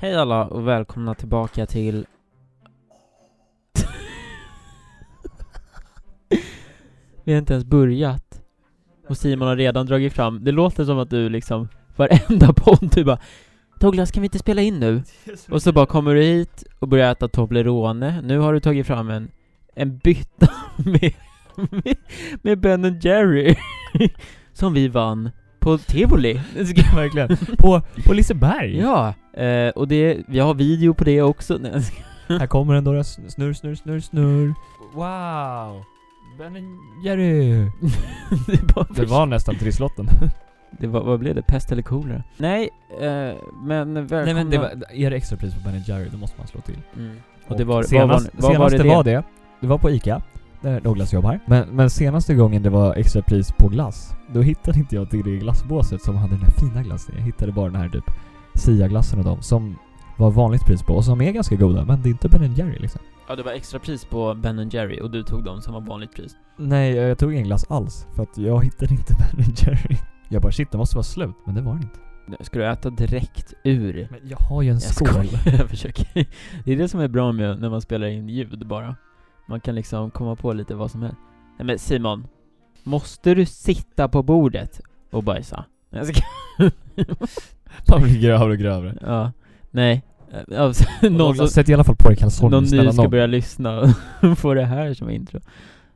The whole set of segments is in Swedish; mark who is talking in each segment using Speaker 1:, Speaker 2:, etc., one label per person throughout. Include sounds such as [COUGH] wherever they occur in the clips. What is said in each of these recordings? Speaker 1: Hej alla och välkomna tillbaka till... Vi har inte ens börjat. Och Simon har redan dragit fram, det låter som att du liksom, varenda podd du bara Douglas kan vi inte spela in nu?
Speaker 2: [LAUGHS]
Speaker 1: Och så bara kommer du hit och börjar äta Toblerone, nu har du tagit fram en, en bytta [LAUGHS] med, med, med Ben Jerry [LAUGHS] Som vi vann på Tivoli
Speaker 2: Verkligen. På, på Liseberg.
Speaker 1: Ja, eh, och det, vi har video på det också. Nej, jag ska-
Speaker 2: Här kommer den då. Snurr, snurr, snurr, snurr. Wow! Ben Jerry!
Speaker 1: [LAUGHS] det var,
Speaker 2: Det var nästan [LAUGHS] trisslotten.
Speaker 1: det var vad blev det? Pest eller kolera? Nej, eh, men välkomna.
Speaker 2: Nej men det var, är det extrapris på Ben Jerry då måste man slå till.
Speaker 1: Mm. Och det var,
Speaker 2: Och senast,
Speaker 1: vad var, vad var
Speaker 2: senaste
Speaker 1: det?
Speaker 2: var det, det var på ICA, där Douglas jobbar. Men, men senaste gången det var extrapris på glass, då hittade inte jag till det glassbåset som hade den här fina glassen. Jag hittade bara den här typ Sia-glassen och dem som var vanligt pris på och som är ganska goda men det är inte Ben Jerry liksom.
Speaker 1: Ja, det var extra pris på Ben Jerry och du tog dem som var vanligt pris.
Speaker 2: Nej, jag jag tog ingen glass alls för att jag hittade inte [LAUGHS] Ben Jerry. Jag bara shit, det måste vara slut, men det var den inte.
Speaker 1: Ska du äta direkt ur?
Speaker 2: Men jag har ju en
Speaker 1: Jag [LAUGHS]
Speaker 2: skål. [LAUGHS]
Speaker 1: skojar, jag försöker. Det är det som är bra med när man spelar in ljud bara. Man kan liksom komma på lite vad som helst. Nej men Simon, måste du sitta på bordet och bajsa? Nej, Jag ska...
Speaker 2: Man blir grövre och grövre.
Speaker 1: [LAUGHS] Ja, nej. Ja, så- någon
Speaker 2: Någon
Speaker 1: som,
Speaker 2: Sätt i alla fall på dig kalsonger,
Speaker 1: någon ny
Speaker 2: snälla
Speaker 1: ska
Speaker 2: någon.
Speaker 1: börja lyssna och [LAUGHS] få det här som intro.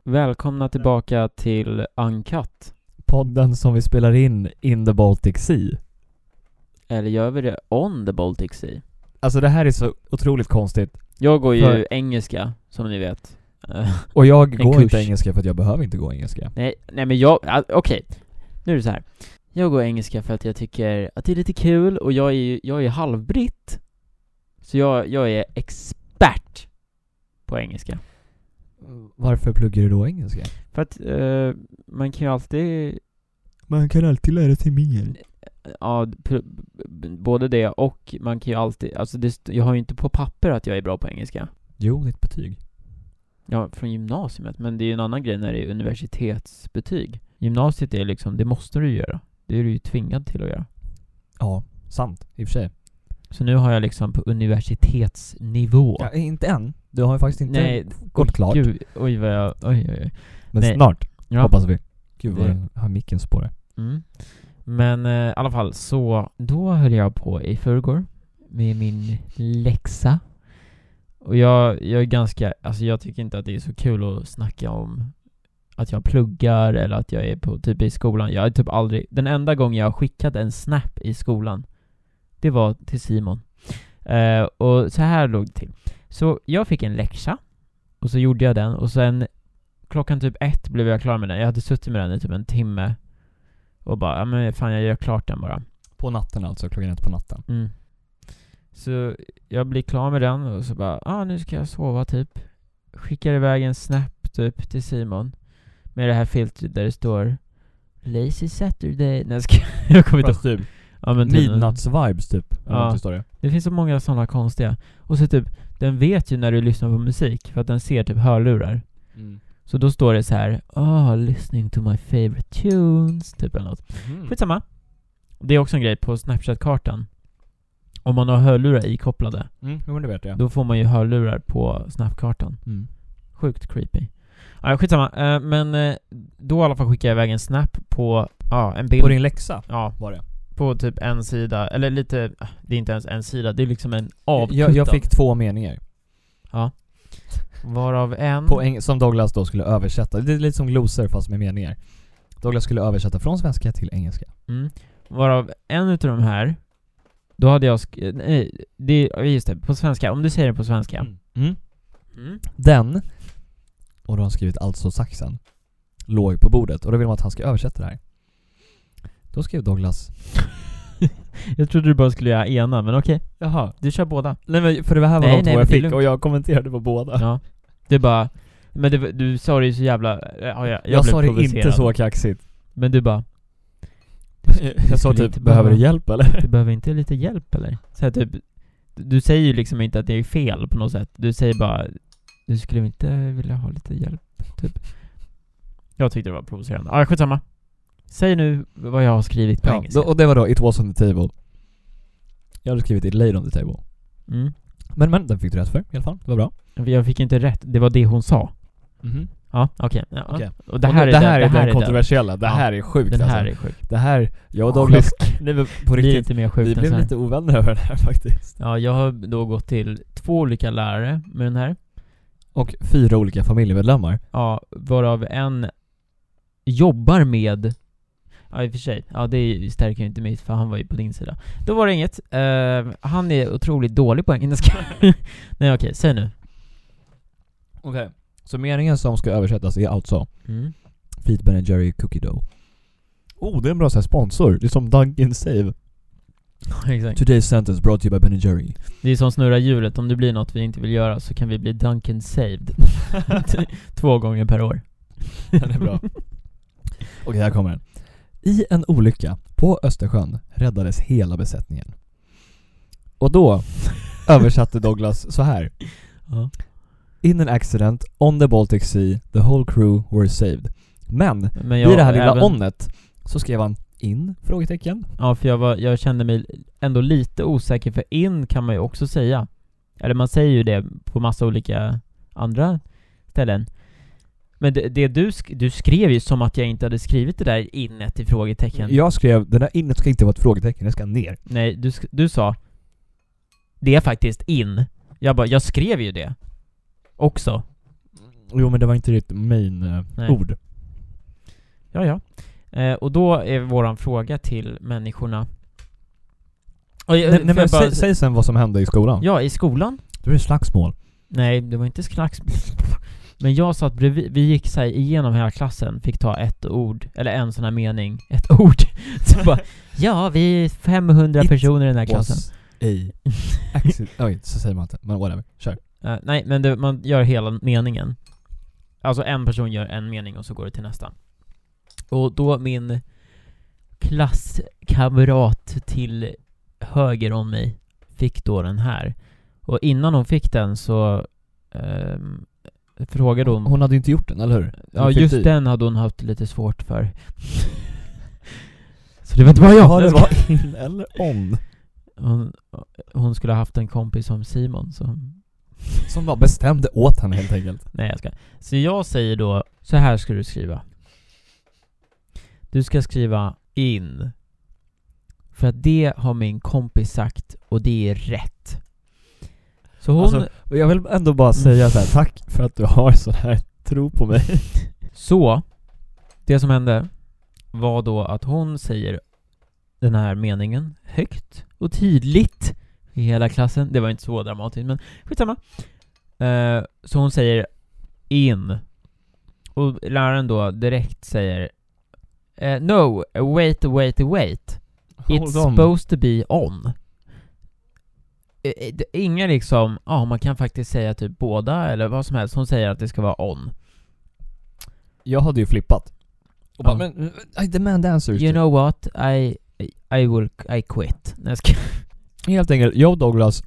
Speaker 1: Välkomna tillbaka till Uncut.
Speaker 2: Podden som vi spelar in in the Baltic Sea.
Speaker 1: Eller gör vi det on the Baltic Sea?
Speaker 2: Alltså det här är så otroligt konstigt.
Speaker 1: Jag går ju
Speaker 2: För-
Speaker 1: engelska, som ni vet. [LAUGHS] Eh,
Speaker 2: Och jag
Speaker 1: En
Speaker 2: går
Speaker 1: kurs.
Speaker 2: inte engelska för att jag behöver inte gå engelska.
Speaker 1: nej, nej men jag, ah, okej. Nu är det så här. Jag går engelska för att jag tycker att det är lite kul och jag är ju, jag är halvbritt. Så jag, jag är expert på engelska.
Speaker 2: Varför pluggar du då engelska?
Speaker 1: För att eh, man kan ju alltid
Speaker 2: Man kan alltid lära sig mer.
Speaker 1: Ja, d- pr- b- b- både det och man kan ju alltid, alltså det, st- jag har ju inte på papper att jag är bra på engelska.
Speaker 2: Jo, ditt betyg.
Speaker 1: Ja, från gymnasiet, men det är ju en annan grej när det är universitetsbetyg. Gymnasiet är liksom, det måste du göra. Det är du ju tvingad till att göra.
Speaker 2: Ja, sant. I och för sig.
Speaker 1: Så nu har jag liksom på universitetsnivå.
Speaker 2: Ja, inte än. Du har ju faktiskt inte
Speaker 1: Nej,
Speaker 2: gått klart.
Speaker 1: Gud, oj vad jag, oj oj oj.
Speaker 2: Men
Speaker 1: nej.
Speaker 2: snart.
Speaker 1: Ja.
Speaker 2: Hoppas vi. Gud vad
Speaker 1: Det-
Speaker 2: den har micken spårar.
Speaker 1: Mm. Men eh, i alla fall, så då höll jag på i förrgår med min läxa. Och jag, jag är ganska, alltså jag tycker inte att det är så kul att snacka om att jag pluggar eller att jag är på typ i skolan. Jag är typ aldrig, den enda gången jag har skickat en snap i skolan, det var till Simon. Eh, och så här låg det till. Så jag fick en läxa, och så gjorde jag den, och sen klockan typ ett blev jag klar med den. Jag hade suttit med den i typ en timme och bara, ja men fan jag gör klart den bara.
Speaker 2: På natten alltså, klockan ett på natten.
Speaker 1: Mm. Så jag blir klar med den och så bara, ah nu ska jag sova typ. Skickar iväg en snap typ till Simon. Med det här filtret där det står Lazy Saturday. Nej jag ska, [LAUGHS] jag kommer inte ihåg.
Speaker 2: typ
Speaker 1: Ja, men typ-
Speaker 2: midnattsvibes typ.
Speaker 1: Ja.
Speaker 2: Ja. Står det.
Speaker 1: Det finns så många sådana konstiga. Och så typ, den vet ju när du lyssnar på musik för att den ser typ hörlurar.
Speaker 2: Mm.
Speaker 1: Så då står det så här, ah listening to my favorite tunes. Typ eller något.
Speaker 2: Mm-hmm. Mm.
Speaker 1: Skitsamma. Det är också en grej på Snapchat-kartan. Om man har hörlurar ikopplade,
Speaker 2: Mm, jo, men det vet jag.
Speaker 1: då får man ju hörlurar på Snapkartan.
Speaker 2: Mm.
Speaker 1: Sjukt creepy. Ja, skitsamma. Eh, Men eh, då i alla fall skickade jag iväg en Snap på, ja, en bild.
Speaker 2: På din läxa
Speaker 1: Ja,
Speaker 2: var det.
Speaker 1: på typ en sida, eller lite, ah, det är inte ens en sida, det är liksom en avkuttad.
Speaker 2: Jag, jag fick två meningar.
Speaker 1: Varav en...
Speaker 2: På eng- som Douglas då skulle översätta. Det är lite som glosor fast med meningar. Douglas skulle översätta från svenska till engelska.
Speaker 1: Varav en utav de här, då hade jag sk- eh, nej, det, ja, just det, på svenska. Om du säger det på svenska.
Speaker 2: Mm.
Speaker 1: Mm.
Speaker 2: Den, och då har han skrivit alltså saxen, låg på bordet. Och då vill man att han ska översätta det här. Då skrev Douglas
Speaker 1: Jag trodde du bara skulle göra ena, men okej.
Speaker 2: Jaha.
Speaker 1: Du kör båda.
Speaker 2: Nej men för det här var
Speaker 1: Nej, nej,
Speaker 2: de
Speaker 1: men
Speaker 2: två jag
Speaker 1: det är
Speaker 2: fick
Speaker 1: lugnt.
Speaker 2: och jag kommenterade på båda.
Speaker 1: Ja. Det är bara, men det, du sa det ju så jävla, ja, jag, jag,
Speaker 2: jag
Speaker 1: blev
Speaker 2: sa det inte
Speaker 1: provocerad.
Speaker 2: så kaxigt.
Speaker 1: [LAUGHS] Men du bara,
Speaker 2: Jag sa
Speaker 1: skulle
Speaker 2: typ,
Speaker 1: inte
Speaker 2: behöver du
Speaker 1: behöva- [LAUGHS]
Speaker 2: hjälp eller?
Speaker 1: du behöver inte lite hjälp eller? Så här, typ, du säger ju liksom inte att det är fel på något sätt. Du säger bara, du skulle inte vilja ha lite hjälp, typ. Jag tyckte det var provocerande. Ja, skitsamma. Säg nu vad jag har skrivit på
Speaker 2: Ja,
Speaker 1: engelska.
Speaker 2: då, och det var då, it was on the table. Jag hade skrivit it laid on the table.
Speaker 1: Mm.
Speaker 2: Men, men den fick du rätt för i alla fall. Det var bra.
Speaker 1: Jag fick inte rätt, det var det hon sa. Ja, okej. Ja, ja.
Speaker 2: Okej.
Speaker 1: Och Mhm. det här,
Speaker 2: nu-
Speaker 1: är,
Speaker 2: det här
Speaker 1: den,
Speaker 2: är
Speaker 1: det här
Speaker 2: den kontroversiella. Det
Speaker 1: Ja.
Speaker 2: här är sjukt
Speaker 1: Den här
Speaker 2: alltså.
Speaker 1: är sjuk.
Speaker 2: Det här, jag och Douglas, [LAUGHS] nej men på
Speaker 1: Blir
Speaker 2: riktigt.
Speaker 1: inte mer
Speaker 2: Vi
Speaker 1: typ sjukt alltså. än så
Speaker 2: blev
Speaker 1: här.
Speaker 2: lite ovänner över den här faktiskt.
Speaker 1: Ja, jag har då gått till två olika lärare med den här.
Speaker 2: Och fyra olika familjemedlemmar.
Speaker 1: Ja, varav en jobbar med... Ja, i och för sig. Ja, det stärker ju inte mig för han var ju på din sida. Då var det inget. Eh, han är otroligt dålig på engelska. [LAUGHS] Nej, okej. Säg nu.
Speaker 2: Okej. Så meningen som ska översättas är alltså
Speaker 1: Mm.
Speaker 2: Feed Ben Jerry Cookie Dough. Oh, det är en bra så här sponsor. Det är som Dunkin' Save.
Speaker 1: [LAUGHS] Exakt.
Speaker 2: Today's sentence brought to you by Ben Jerry.
Speaker 1: Det är som snurra hjulet. Om det blir något vi inte vill göra så kan vi bli Duncan
Speaker 2: [LAUGHS]
Speaker 1: saved. [LAUGHS] Två gånger per år.
Speaker 2: Den är bra. Okej, här kommer den. I en olycka på Östersjön räddades hela besättningen. Och [LAUGHS] då översatte Douglas så här.
Speaker 1: Ja.
Speaker 2: In an accident on the Baltic Sea, the whole crew were saved. Men
Speaker 1: Men
Speaker 2: i det här lilla
Speaker 1: även-
Speaker 2: onnet så skrev han in? Frågetecken.
Speaker 1: Ja, för jag, var, jag kände mig ändå lite osäker, för in kan man ju också säga. Eller man säger ju det på massa olika andra ställen. Men det, det du, sk- du skrev ju som att jag inte hade skrivit det där innet i frågetecken.
Speaker 2: Jag skrev den där innet ska inte vara ett frågetecken, det ska ner.
Speaker 1: Nej, du, sk- du sa Det är faktiskt in. Jag bara, jag skrev ju det. Också.
Speaker 2: Jo men det var inte ditt main eh,
Speaker 1: Nej.
Speaker 2: ord.
Speaker 1: Ja, ja. Eh, och då är våran fråga till människorna... Och jag-
Speaker 2: Nej,
Speaker 1: får
Speaker 2: nej men
Speaker 1: jag bara-
Speaker 2: säg, säg sen vad som hände i skolan.
Speaker 1: Ja, i skolan
Speaker 2: Det blev slagsmål.
Speaker 1: Nej, det var inte slags... [LAUGHS] Men jag satt bredvid, vi gick så här igenom hela klassen, fick ta ett ord, eller en sån här mening, ett ord. [LAUGHS] Så bara, ja, vi är 500
Speaker 2: It
Speaker 1: personer i den här klassen. [LAUGHS]
Speaker 2: Was a accident. Oj, så säger man inte. Men whatever. Kör.
Speaker 1: Eh, nej, men det, man gör hela meningen. Alltså en person gör en mening och så går det till nästa. Och då min klasskamrat till höger om mig fick då den här. Och innan hon fick den så ehm, frågade hon...
Speaker 2: Hon hade ju inte gjort den, eller hur?
Speaker 1: Ja,
Speaker 2: Hon fick typ-
Speaker 1: just
Speaker 2: tid.
Speaker 1: den hade hon haft lite svårt för. [LAUGHS] Så det var inte bara jag.
Speaker 2: Ja, det var [LAUGHS] in eller on.
Speaker 1: hon, hon skulle ha haft en kompis som Simon som...
Speaker 2: Som bara bestämde åt henne helt enkelt.
Speaker 1: Nej, jag ska. Så jag säger då, så här ska du skriva. Du ska skriva in. För att det har min kompis sagt och det är rätt. Så hon...
Speaker 2: Alltså- Och jag vill ändå bara
Speaker 1: Mm.
Speaker 2: säga så här, tack för att du har sån här tro på mig.
Speaker 1: Så, det som hände var då att hon säger den här meningen högt och tydligt i hela klassen. Det var inte så dramatiskt, men skitsamma. Eh, så hon säger in. Och läraren då direkt säger eh, No, wait, wait, wait. [LAUGHS] It's supposed to be on. Eh, eh, det- Inga liksom, ja man kan faktiskt säga typ båda eller vad som helst. Hon säger att det ska vara on.
Speaker 2: Jag hade ju flippat. Och bara,
Speaker 1: Ja.
Speaker 2: men I demand answers.
Speaker 1: You know what? I I will I quit. Nej, jag ska...
Speaker 2: Helt enkelt, jag och Douglas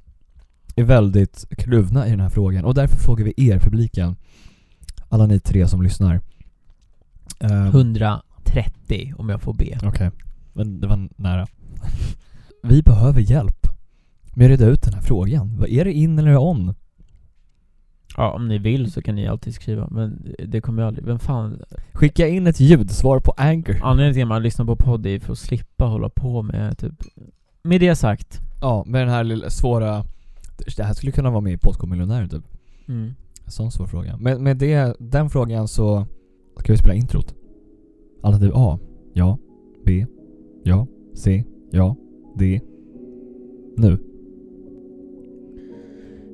Speaker 2: är väldigt kluvna i den här frågan och därför frågar vi er, publiken, alla ni tre som lyssnar. Eh,
Speaker 1: 130 om jag får be.
Speaker 2: Okej, men det var nära. [LAUGHS] Vi behöver hjälp med att reda ut den här frågan. Vad Är det in eller on?
Speaker 1: Ja, om ni vill så kan ni alltid skriva, men det kommer jag aldrig... Vem fan...
Speaker 2: Skicka in ett ljudsvar på Anchor.
Speaker 1: Anledningen till att man lyssnar på podd är för att slippa hålla på med typ... Med det sagt.
Speaker 2: Ja, med den här lilla svåra... Det här skulle kunna vara med i Postkodmiljonären typ.
Speaker 1: Mm.
Speaker 2: En sån svår fråga. Med, med det, den frågan så ska vi spela introt. Alternativ A. Ja. B. Ja. C. Ja. D. Nu.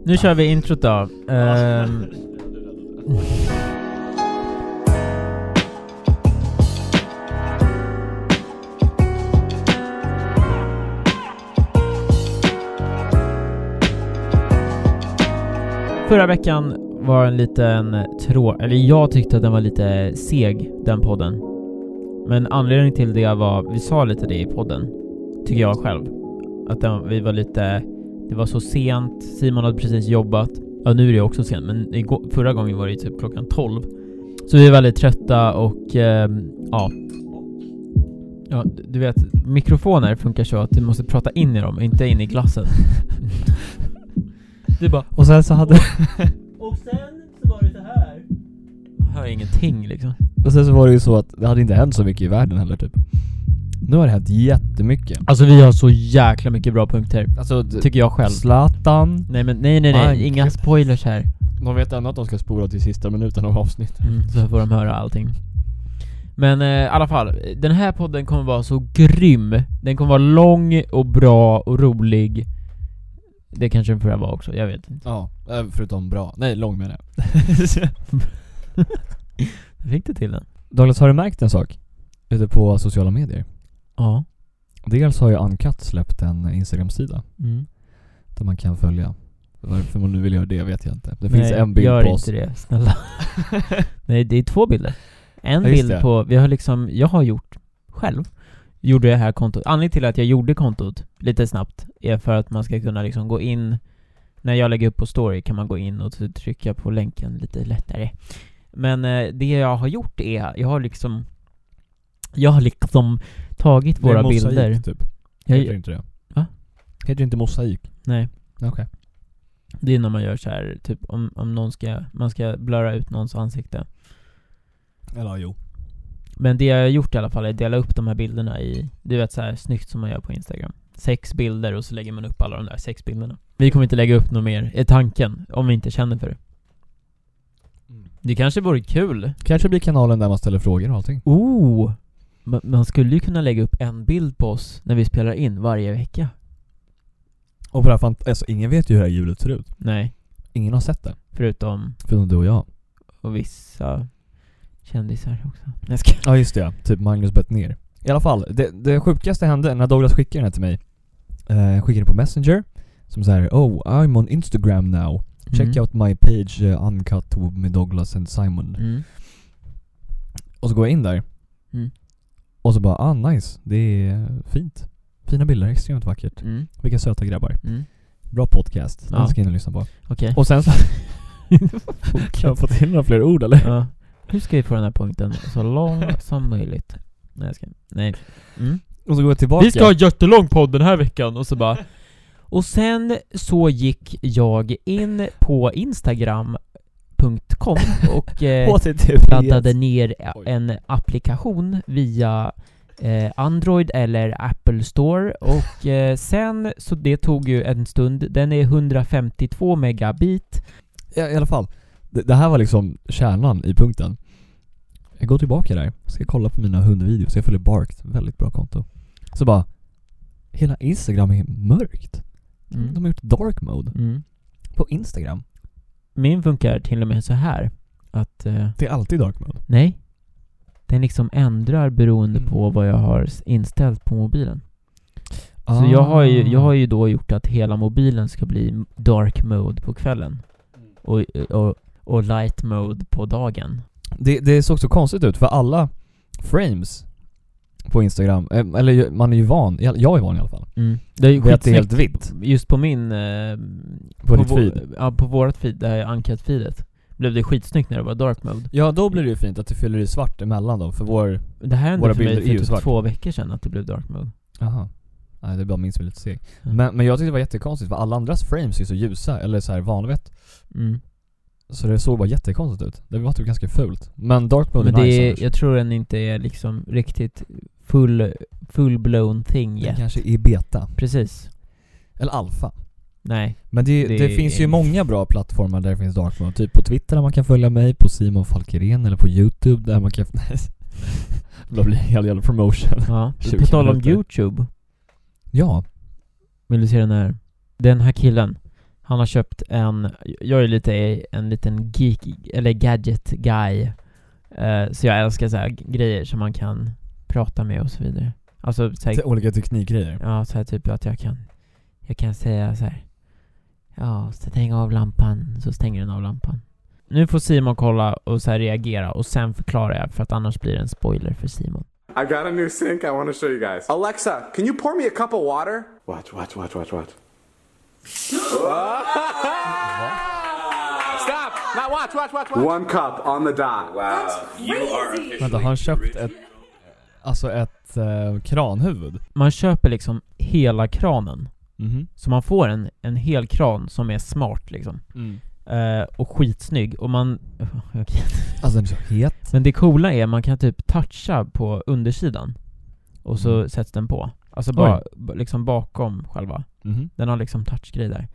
Speaker 1: Nu kör vi introt då. Ehm, Förra veckan var en liten trå... Eller jag tyckte att den var lite seg, den podden. Men anledningen till det var, vi sa lite det i podden, tycker jag själv. Att den, vi var lite... Det var så sent, Simon hade precis jobbat. Ja, nu är det också sent, men igår, förra gången var det ju typ klockan 12. Så vi är väldigt trötta och ehm, ja. Ja, du [LAUGHS] vet, mikrofoner funkar så att du måste prata in i dem, inte in i glassen. Du bara
Speaker 2: Och sen så hade...
Speaker 1: Och sen så var det så här. Jag hör ingenting liksom.
Speaker 2: Och sen så var det ju så att det hade inte hänt så mycket i världen heller typ. Nu har det hänt jättemycket.
Speaker 1: Alltså vi har så jäkla mycket bra punkter.
Speaker 2: Alltså, d-
Speaker 1: Tycker jag själv.
Speaker 2: Zlatan.
Speaker 1: Nej men nej nej nej,
Speaker 2: Mike.
Speaker 1: inga spoilers här.
Speaker 2: De vet ändå att de ska spola till sista minuten av avsnittet.
Speaker 1: Mm, så får de höra allting. Men eh, i alla fall, den här podden kommer vara så grym. Den kommer vara lång och bra och rolig. Det kanske den förra var också, jag vet [LAUGHS] inte.
Speaker 2: Ja, eh, förutom bra. Nej, lång menar jag.
Speaker 1: Jag Fick du till den?
Speaker 2: Douglas, har du märkt en sak? Ute på sociala medier.
Speaker 1: Ja.
Speaker 2: Dels har ju Uncut släppt en Instagram-sida
Speaker 1: Mm.
Speaker 2: där man kan följa. Varför man nu vill göra det vet jag inte. Det finns en bild
Speaker 1: gör
Speaker 2: på oss.
Speaker 1: inte det, snälla.
Speaker 2: [LAUGHS]
Speaker 1: Nej, det är två bilder. En
Speaker 2: Ja, just
Speaker 1: bild
Speaker 2: det.
Speaker 1: på, vi har liksom, jag har gjort själv, gjorde det här kontot. Anledningen till att jag gjorde kontot lite snabbt är för att man ska kunna liksom gå in, när jag lägger upp på story kan man gå in och t- trycka på länken lite lättare. Men eh, det jag har gjort är, jag har liksom, jag har liksom tagit
Speaker 2: Det är
Speaker 1: våra
Speaker 2: mosaik,
Speaker 1: bilder.
Speaker 2: typ. Heter
Speaker 1: Jag,
Speaker 2: inte det?
Speaker 1: Va?
Speaker 2: Heter inte mosaik?
Speaker 1: nej.
Speaker 2: Okej.
Speaker 1: Det är när man gör så här, typ om, om någon ska, man ska blöra ut någons ansikte.
Speaker 2: Eller jo.
Speaker 1: Men det jag har gjort i alla fall är att dela upp de här bilderna i, du vet så här snyggt som man gör på Instagram. Sex bilder och så lägger man upp alla de där sex bilderna. Vi kommer inte lägga upp något mer, är tanken, om vi inte känner för det.
Speaker 2: Mm.
Speaker 1: Det kanske vore kul.
Speaker 2: Kanske blir kanalen där man ställer frågor och allting.
Speaker 1: Oh! Man, man skulle ju kunna lägga upp en bild på oss när vi spelar in varje vecka.
Speaker 2: Och på det här fant- alltså, ingen vet ju hur det här hjulet ser ut.
Speaker 1: Nej,
Speaker 2: Ingen har sett det.
Speaker 1: förutom
Speaker 2: Förutom du och jag.
Speaker 1: och vissa kändisar också. Nej, jag skojar.
Speaker 2: Ja just det, typ Magnus ner. I alla fall, det, det sjukaste hände när Douglas skickade den här till mig. Eh, jag skickade den på Messenger. Som så här, oh I'm on Instagram now. Check
Speaker 1: Mm.
Speaker 2: out my page eh, uncut med Douglas and Simon.
Speaker 1: Mm.
Speaker 2: Och så går jag in där.
Speaker 1: Mm.
Speaker 2: Och så bara, ah nice, det är fint. Fina bilder, extremt vackert.
Speaker 1: Mm.
Speaker 2: Vilka söta grabbar.
Speaker 1: Mm.
Speaker 2: Bra podcast, den
Speaker 1: Ja.
Speaker 2: ska jag in och lyssna på.
Speaker 1: Okej. [LAUGHS]
Speaker 2: Och sen så... kan [LAUGHS] jag få till några fler ord eller?
Speaker 1: Ja. [LAUGHS] Hur ska vi få den här punkten så lång som möjligt? Nej, jag ska, nej. Mm.
Speaker 2: Och så går jag tillbaka.
Speaker 1: jättelång podd den här veckan och så bara... [LAUGHS] Och sen så gick jag in på instagram.com [LAUGHS] och eh,
Speaker 2: HTTP.
Speaker 1: laddade ner
Speaker 2: Oj.
Speaker 1: en applikation via eh, Android eller Apple Store och eh, sen så det tog ju en stund, den är 152 megabit.
Speaker 2: Ja, I alla fall. Det, det här var liksom kärnan i punkten. Jag går tillbaka där, ska kolla på mina hundvideos, jag följer Barked, väldigt bra konto. Så bara, hela Instagram är mörkt.
Speaker 1: Mm.
Speaker 2: De har gjort dark mode
Speaker 1: Mm.
Speaker 2: på Instagram.
Speaker 1: Min funkar till och med så här att eh,
Speaker 2: Det är alltid dark mode.
Speaker 1: Nej. Den liksom ändrar beroende
Speaker 2: Mm.
Speaker 1: på vad jag har s- inställt på mobilen. Så jag har, ju,
Speaker 2: Ah.
Speaker 1: jag har ju då gjort att hela mobilen ska bli dark mode på kvällen.
Speaker 2: Mm.
Speaker 1: Och, eh, och, och light mode på dagen.
Speaker 2: Ah. Det, det såg så konstigt ut för alla frames på Instagram, eh, eller ju- man är ju van, jag är van i alla fall.
Speaker 1: Det är ju
Speaker 2: Mm. Vet att det är
Speaker 1: skitsnyggt
Speaker 2: helt vitt
Speaker 1: just på min... Eh,
Speaker 2: på ditt
Speaker 1: vår-
Speaker 2: feed.
Speaker 1: Ja, på vårt feed, det här är Uncut-feedet. Blev det skitsnyggt när det var dark mode.
Speaker 2: Ja då blir det ju fint att du fyller i svart emellan då, för vår...
Speaker 1: Det här hände
Speaker 2: Våra
Speaker 1: för
Speaker 2: bilder
Speaker 1: mig
Speaker 2: är
Speaker 1: för
Speaker 2: ju
Speaker 1: typ
Speaker 2: svart.
Speaker 1: två veckor sedan att det blev dark mode.
Speaker 2: Aha. Nej det är bara min som är lite seg.
Speaker 1: Mm.
Speaker 2: Men, men jag tyckte det var jättekonstigt för alla andras frames är så ljusa, eller så här vanvett.
Speaker 1: Mm.
Speaker 2: Så det såg bara jättekonstigt ut. Det var typ ganska fult. Men dark mode
Speaker 1: Men
Speaker 2: är
Speaker 1: det
Speaker 2: nice
Speaker 1: är,
Speaker 2: annars.
Speaker 1: jag tror den inte är liksom riktigt full, full-blown thing
Speaker 2: Den
Speaker 1: yet.
Speaker 2: kanske är beta.
Speaker 1: Precis.
Speaker 2: Eller alfa.
Speaker 1: Nej.
Speaker 2: [LAUGHS] Men det,
Speaker 1: Det
Speaker 2: det,
Speaker 1: är-
Speaker 2: finns ju många bra plattformar där det finns dark mode. Typ på Twitter där man kan följa mig, på Simon Falkeren eller på Youtube där man kan... [LAUGHS] Då blir det en hel jävla promotion.
Speaker 1: Ja.
Speaker 2: 20
Speaker 1: På tal om
Speaker 2: minuter.
Speaker 1: Youtube.
Speaker 2: Ja.
Speaker 1: Vill du se den här? Den här killen. Han har köpt en, jag är lite en liten geek, eller gadget guy. Eh, så jag älskar så här grejer som man kan prata med och så vidare. Alltså så här,
Speaker 2: Till olika teknikgrejer.
Speaker 1: ja så här typ att jag kan, jag kan säga så här. Ja, stäng av lampan, så stänger den av lampan. Nu får Simon kolla och så här reagera och sen förklarar jag för att annars blir det en spoiler för Simon.
Speaker 3: I got a new sink I want to show you guys. Alexa, can you pour me a cup of water? Watch, watch, watch, watch, [LAUGHS] watch. Stop! Not watch, watch, watch, watch. One cup on the dot. Wow.
Speaker 2: Vänta, har han köpt ett... Alltså ett eh, kranhuvud?
Speaker 1: Man köper liksom hela kranen
Speaker 2: Mhm.
Speaker 1: Så man får en, en hel kran som är smart liksom.
Speaker 2: Mm.
Speaker 1: Eh, och skitsnygg. Och man... [LAUGHS] Okej.
Speaker 2: Alltså den är så het.
Speaker 1: Men det coola är man kan typ toucha på undersidan. Och så
Speaker 2: Mm.
Speaker 1: sätts den på. Alltså
Speaker 2: Oj.
Speaker 1: bara, b- liksom bakom själva.
Speaker 2: Mhm.
Speaker 1: Den har liksom touchgrej där.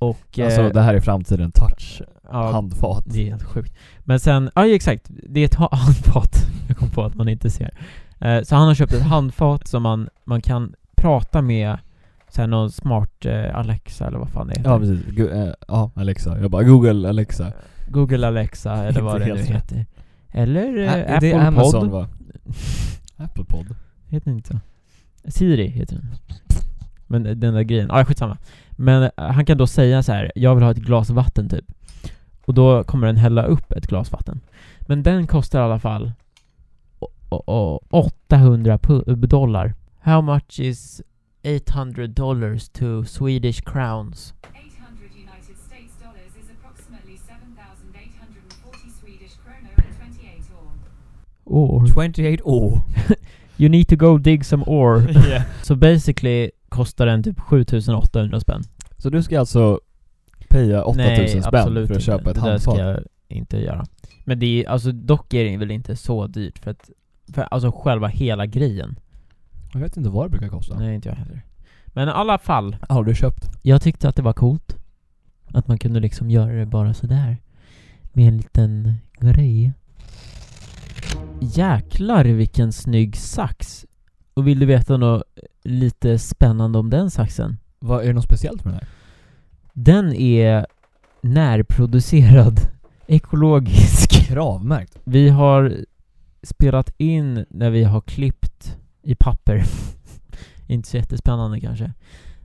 Speaker 1: Och...
Speaker 2: Alltså
Speaker 1: eh,
Speaker 2: det här är framtiden, touch,
Speaker 1: ja,
Speaker 2: handfat.
Speaker 1: Det är helt sjukt. Men sen, ja exakt, det är ett ha- [LAUGHS] handfat. Jag kom på att man inte ser. Eh, så han har köpt ett handfat som man, man kan prata med så här, någon smart eh, Alexa eller vad fan det heter.
Speaker 2: Ja precis, Gu- eh, ja Alexa. Jag bara Google Alexa.
Speaker 1: Google Alexa eller
Speaker 2: Inte
Speaker 1: vad det nu
Speaker 2: helt rätt.
Speaker 1: heter. Eller eh,
Speaker 2: Ä-
Speaker 1: Apple
Speaker 2: det är Amazon
Speaker 1: Pod. [LAUGHS]
Speaker 2: va? Apple Pod.
Speaker 1: Heter den inte så? Siri heter den. Men den där grejen, ja ah, skitsamma. Men eh, han kan då säga så här, jag vill ha ett glas vatten typ. Och då kommer den hälla upp ett glas vatten. Men den kostar i alla fall o- o- o- 800 pu- eh, dollar. How much is 800 dollars to Swedish crowns?
Speaker 4: 800 United States dollars is approximately 7,840 Swedish krona and 28
Speaker 1: Or.
Speaker 2: 28
Speaker 4: or.
Speaker 2: år.
Speaker 1: [LAUGHS] You need to go dig some ore. Så basically kostar den typ 7800 spänn.
Speaker 2: Så du ska alltså paya 8000 spänn
Speaker 1: absolut
Speaker 2: för att köpa
Speaker 1: inte.
Speaker 2: ett
Speaker 1: det där ska
Speaker 2: handfat?
Speaker 1: jag inte göra. Men det är alltså dock är det väl inte så dyrt för att, för alltså själva hela grejen.
Speaker 2: Jag vet inte vad det brukar kosta.
Speaker 1: Nej, inte jag heller. Men i alla fall,
Speaker 2: Har du köpt?
Speaker 1: jag tyckte att det var coolt. Att man kunde liksom göra det bara sådär. Med en liten grej. Jäklar vilken snygg sax. Och vill du veta något lite spännande om den saxen?
Speaker 2: Vad, är det något speciellt med den här?
Speaker 1: Den är närproducerad, ekologisk.
Speaker 2: Kravmärkt.
Speaker 1: Vi har spelat in när vi har klippt i papper. [LAUGHS] Inte så jättespännande kanske.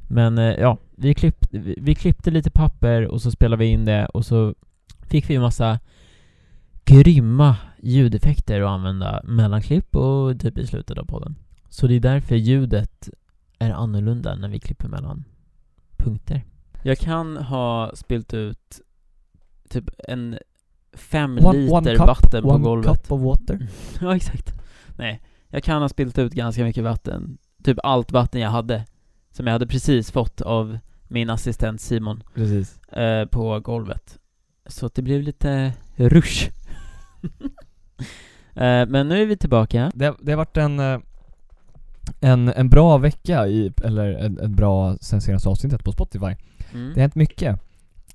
Speaker 1: Men eh, ja, vi, klippt, vi, vi klippte lite papper och så spelade vi in det och så fick vi en massa grymma ljudeffekter att använda mellan klipp och typ i slutet av podden. Så det är därför ljudet är annorlunda när vi klipper mellan punkter. Jag kan ha spilt ut typ en fem liter vatten på
Speaker 2: one
Speaker 1: golvet. [LAUGHS]
Speaker 2: cup of water.
Speaker 1: Ja, exakt. Nej, jag kan ha spilt ut ganska mycket vatten. Typ allt vatten jag hade. Som jag hade precis fått av min assistent Simon
Speaker 2: Precis.
Speaker 1: eh, på golvet. Så att det blev lite rush. [LAUGHS] eh, men nu är vi tillbaka.
Speaker 2: Det, det har varit en, eh, en, en bra vecka, i, eller en, en bra sen senaste avsnittet på Spotify.
Speaker 1: Mm.
Speaker 2: Det har hänt mycket.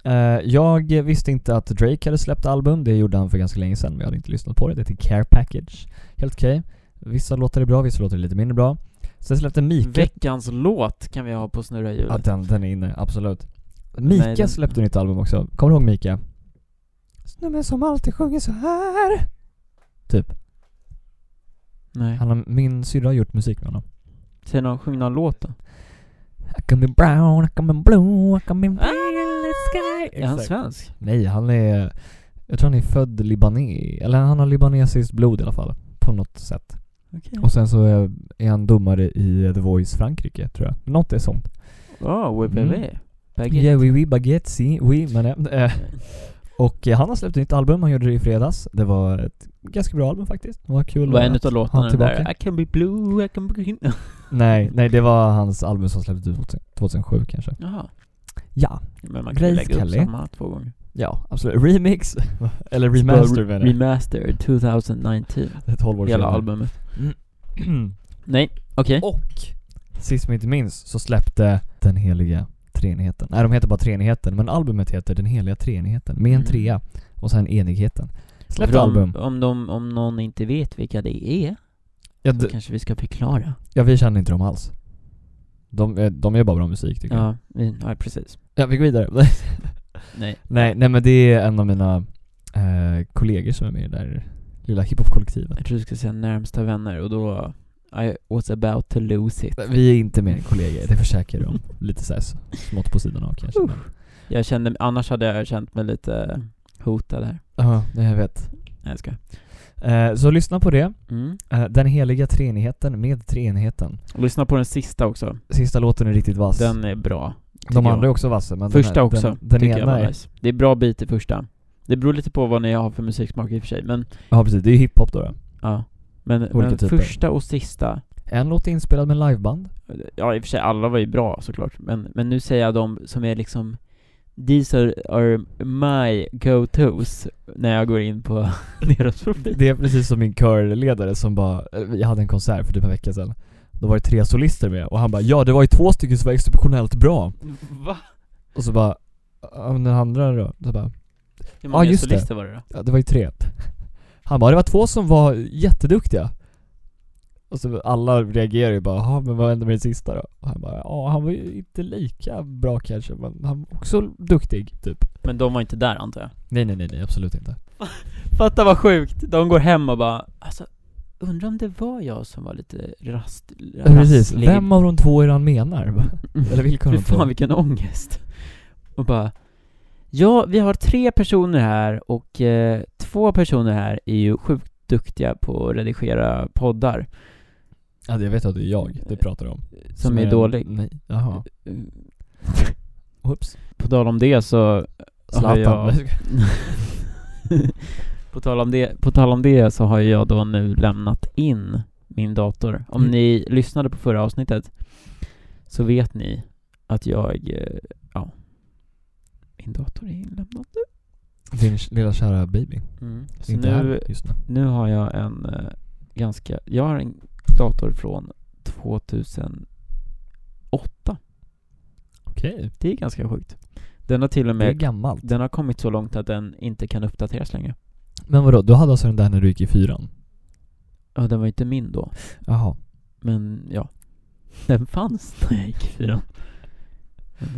Speaker 2: Eh, jag visste inte att Drake hade släppt album, det gjorde han för ganska länge sedan men jag hade inte lyssnat på det. Det heter Care Package. Helt okej. Vissa låter det bra, vissa låter det lite mindre bra. Sen släppte Mika...
Speaker 1: Veckans låt kan vi ha på snurra
Speaker 2: Ja,
Speaker 1: hjulet.
Speaker 2: den, den är inne, absolut. Mika
Speaker 1: Nej, den-
Speaker 2: släppte nytt album också. Kommer du ihåg Mika? Snubben som alltid sjunger så här. Typ.
Speaker 1: Nej.
Speaker 2: Han har, min syrra har gjort musik med honom.
Speaker 1: Säg någon, sjung någon låt då.
Speaker 2: I can be brown, I can be blue, I can be...
Speaker 1: Ah! Är han
Speaker 2: Exakt.
Speaker 1: svensk?
Speaker 2: Nej, han är... Jag tror han är född libanes, eller han har libanesiskt blod i alla fall. På något sätt.
Speaker 1: Okej.
Speaker 2: Och sen så är- är han domare i The Voice Frankrike, tror jag. Något är sånt.
Speaker 1: Wow, wbb.
Speaker 2: Mm.
Speaker 1: Baguette. Mm.
Speaker 2: Yeah, oui, oui, baguette, si, oui, men... eh, eh. och eh, han har släppt ett nytt album, han gjorde det i fredags. Det var ett ganska bra album faktiskt. Det var kul
Speaker 1: Det var en
Speaker 2: att
Speaker 1: utav
Speaker 2: ha
Speaker 1: låtarna den
Speaker 2: tillbaka.
Speaker 1: där. I can be blue, I can be green. [LAUGHS]
Speaker 2: Nej, nej, det var hans album som släpptes 2000 2007 kanske.
Speaker 1: Jaha.
Speaker 2: Ja,
Speaker 1: Men man kan ju
Speaker 2: Grace
Speaker 1: lägga upp
Speaker 2: Kelly.
Speaker 1: samma två gånger.
Speaker 2: ja, absolut. Remix, [LAUGHS] eller
Speaker 1: Bara
Speaker 2: remaster
Speaker 1: re-
Speaker 2: menar jag.
Speaker 1: Remaster 2019.
Speaker 2: Ett halvår
Speaker 1: Hela
Speaker 2: senare.
Speaker 1: albumet.
Speaker 2: [CLEARS THROAT]
Speaker 1: Nej, okej.
Speaker 2: Och sist men inte minst så släppte Den heliga treenigheten. Nej, de heter bara treenigheten, men albumet heter Den heliga treenigheten med en
Speaker 1: Mm.
Speaker 2: trea och sen enigheten. Släppte
Speaker 1: För om-
Speaker 2: album.
Speaker 1: Om, de, om någon inte vet vilka det är,
Speaker 2: Ja,
Speaker 1: så
Speaker 2: d-
Speaker 1: kanske vi ska förklara.
Speaker 2: ja, vi känner inte dem alls. De, är- de gör bara bra musik tycker jag.
Speaker 1: Ja, vi, ja, precis.
Speaker 2: Ja, vi går vidare. [LAUGHS]
Speaker 1: Nej.
Speaker 2: nej, nej men det är en av mina eh, kollegor som är med i det där lilla hiphop-kollektivet.
Speaker 1: Jag tror du ska säga närmsta vänner och då... I was about to lose it.
Speaker 2: Vi är inte mer än kollegor, det försäkrar
Speaker 1: [LAUGHS]
Speaker 2: jag om. Lite såhär smått på sidan av kanske. men-
Speaker 1: Jag kände, annars hade jag känt mig lite hotad här.
Speaker 2: Ja, nej, jag vet.
Speaker 1: Nej, jag ska.
Speaker 2: Eh, så lyssna på det.
Speaker 1: Mm.
Speaker 2: Eh, Den heliga treenigheten med treenigheten.
Speaker 1: Lyssna på den sista också.
Speaker 2: Sista låten är riktigt vass.
Speaker 1: Den är bra.
Speaker 2: De
Speaker 1: jag.
Speaker 2: andra är också vassa men
Speaker 1: Första
Speaker 2: den här,
Speaker 1: också,
Speaker 2: Den, den
Speaker 1: tycker jag
Speaker 2: ena
Speaker 1: var
Speaker 2: är,
Speaker 1: nice. Det är bra bit i första. Det beror lite på vad ni har för musiksmak i och för sig, men
Speaker 2: ja precis, det är ju hiphop då. då.
Speaker 1: Ja. Men,
Speaker 2: Olika
Speaker 1: men
Speaker 2: typer.
Speaker 1: första och sista,
Speaker 2: En låt är inspelad med liveband.
Speaker 1: Ja i och för sig, alla var ju bra såklart, men, men nu säger jag de som är liksom These are, are my go-tos när jag går in på [LAUGHS] deras profil
Speaker 2: Det är precis som min körledare som bara, eh, jag hade en konsert för typ en vecka sedan. Då var det tre solister med och han bara 'Ja, det var ju två stycken som var exceptionellt bra'
Speaker 1: Va?
Speaker 2: Och så bara, "Ja, men den andra då? Så bara,
Speaker 1: Hur många
Speaker 2: just det.
Speaker 1: solister var det då?
Speaker 2: Ja, det var ju tre. Han bara, det var två som var jätteduktiga. Och så alla reagerar ju bara, "Jaha, men vad hände med den sista då? Och han bara, ja han var ju inte lika bra kanske men han var också duktig typ.
Speaker 1: Men de var inte där antar jag
Speaker 2: Nej nej nej, nej absolut inte.
Speaker 1: Fatta vad sjukt! De går hem och bara alltså, undrar om det var jag som var lite rast,
Speaker 2: Precis,
Speaker 1: rasslig.
Speaker 2: vem av de två är det
Speaker 1: [LAUGHS]
Speaker 2: han menar? Eller vilka av
Speaker 1: Fy
Speaker 2: de två?
Speaker 1: fan vilken ångest. Och bara Ja, vi har tre personer här och eh, två personer här är ju sjukt duktiga på att redigera poddar.
Speaker 2: Ja det vet jag att det är jag du pratar om.
Speaker 1: Eh, Som, är, dålig.
Speaker 2: Nej, jaha.
Speaker 1: [LAUGHS] Eh,
Speaker 2: Oops.
Speaker 1: På tal om det så har
Speaker 2: Zlatan.
Speaker 1: jag... [LAUGHS] på, tal om det, på tal om det så har jag då nu lämnat in min dator. Om
Speaker 2: Mm.
Speaker 1: ni lyssnade på förra avsnittet så vet ni att jag, eh, ja, min dator är inlämnad nu.
Speaker 2: Din lilla kära baby.
Speaker 1: Så
Speaker 2: Mm. inte
Speaker 1: nu,
Speaker 2: här just nu.
Speaker 1: nu har jag en eh, ganska, jag har en dator från 2008.
Speaker 2: Okej.
Speaker 1: Det är ganska sjukt. Den har till och
Speaker 2: Det är
Speaker 1: med,
Speaker 2: gammalt.
Speaker 1: den har kommit så långt att den inte kan uppdateras längre.
Speaker 2: Men vadå, du hade alltså den där när du gick i fyran?
Speaker 1: Ja, den var inte min då.
Speaker 2: Jaha.
Speaker 1: Men ja, den fanns när jag gick i fyran. Men,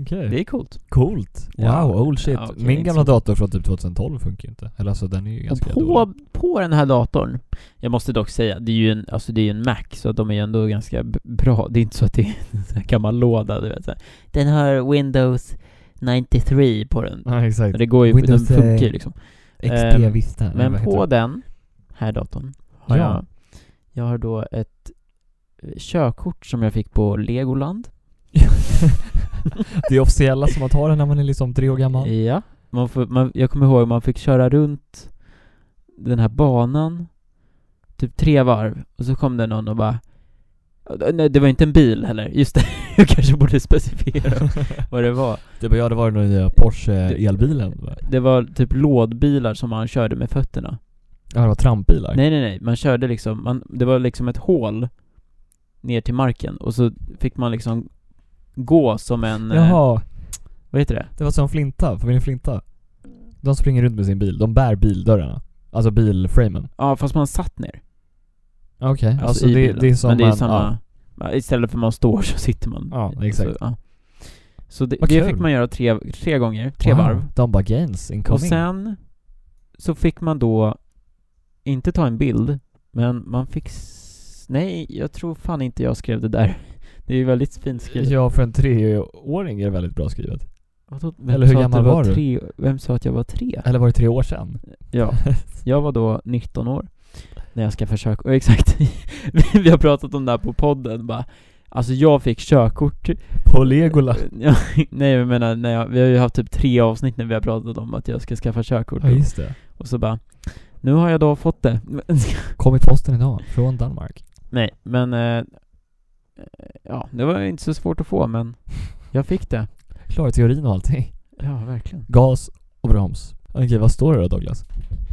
Speaker 2: Okej.
Speaker 1: eh, Det är coolt.
Speaker 2: Coolt! Wow,
Speaker 1: Ja,
Speaker 2: old shit.
Speaker 1: ja, okej,
Speaker 2: Min
Speaker 1: inte
Speaker 2: gamla
Speaker 1: så-
Speaker 2: dator från typ 2012 funkar ju inte. Eller alltså den är ju
Speaker 1: Och
Speaker 2: ganska dålig.
Speaker 1: på, på den här datorn, jag måste dock säga, det är ju en, alltså det är ju en Mac så att de är ju ändå ganska b- bra. Det är inte så att det är en sån här gammal låda, du vet. Så här. Den har Windows 93 på den.
Speaker 2: Ja exakt.
Speaker 1: Det går ju,
Speaker 2: Windows,
Speaker 1: den funkar ju
Speaker 2: eh,
Speaker 1: liksom.
Speaker 2: XP
Speaker 1: ehm,
Speaker 2: Vista. eller
Speaker 1: Men
Speaker 2: vad heter
Speaker 1: på
Speaker 2: det? [LAUGHS]
Speaker 1: den här datorn har
Speaker 2: Ja.
Speaker 1: jag, jag har då ett eh, körkort som jag fick på Legoland.
Speaker 2: det är officiella som man tar den när man är liksom tre år gammal.
Speaker 1: Ja, man får, man, jag kommer ihåg man fick köra runt den här banan typ tre varv och så kom det någon och bara Nej, det var inte en bil heller, just det. [LAUGHS] Jag kanske borde specificera vad det var.
Speaker 2: Det var, ja, det var den nya Porsche elbilen. va?
Speaker 1: Det var typ lådbilar som man körde med fötterna.
Speaker 2: Ja det var trampbilar.
Speaker 1: Nej, nej, nej. Man körde liksom, man, det var liksom ett hål ner till marken och så fick man liksom gå som en, eh,
Speaker 2: Jaha,
Speaker 1: vad heter det?
Speaker 2: det var som Flinta, familjen Flinta. De springer runt med sin bil, de bär bildörrarna. Alltså bilframen.
Speaker 1: Ja, fast man satt ner.
Speaker 2: Okej, alltså,
Speaker 1: i
Speaker 2: det,
Speaker 1: bilen.
Speaker 2: det är som
Speaker 1: Men det är
Speaker 2: en-
Speaker 1: samma, ja. istället för att man står så sitter man.
Speaker 2: Ja, exakt.
Speaker 1: Så, ja. så det,
Speaker 2: Vad
Speaker 1: det
Speaker 2: kul.
Speaker 1: fick man göra tre, tre gånger, tre
Speaker 2: Wow,
Speaker 1: varv.
Speaker 2: De bara gains incoming.
Speaker 1: Och sen så fick man då inte ta en bild, men man fick s- Nej, jag tror fan inte jag skrev det där. [LAUGHS] Det är ju väldigt fint skrivet.
Speaker 2: Ja, för en treåring är det väldigt bra skrivet.
Speaker 1: Vadå, vem
Speaker 2: Eller hur
Speaker 1: sa att
Speaker 2: gammal
Speaker 1: jag
Speaker 2: var du? Äh,
Speaker 1: Tre, vem sa att jag var tre?
Speaker 2: Eller var det tre år sedan? äh.
Speaker 1: Ja, jag var då 19 år när jag ska försöka, [LAUGHS] och exakt, vi- vi har pratat om det här på podden bara, alltså jag fick körkort
Speaker 2: [LAUGHS] På Legoland.
Speaker 1: [LAUGHS] Ja, nej jag menar, när jag, vi har ju haft typ tre avsnitt när vi har pratat om att jag ska skaffa körkort
Speaker 2: Ja, just det.
Speaker 1: och så bara Nu har jag då fått det [LAUGHS]
Speaker 2: Kom i posten idag, från Danmark.
Speaker 1: Nej, men eh, Ja, det var ju inte så svårt att få men Jag fick det
Speaker 2: Klara teorin och allting.
Speaker 1: Ja, verkligen
Speaker 2: Gas och broms. Okej, vad står det då Douglas?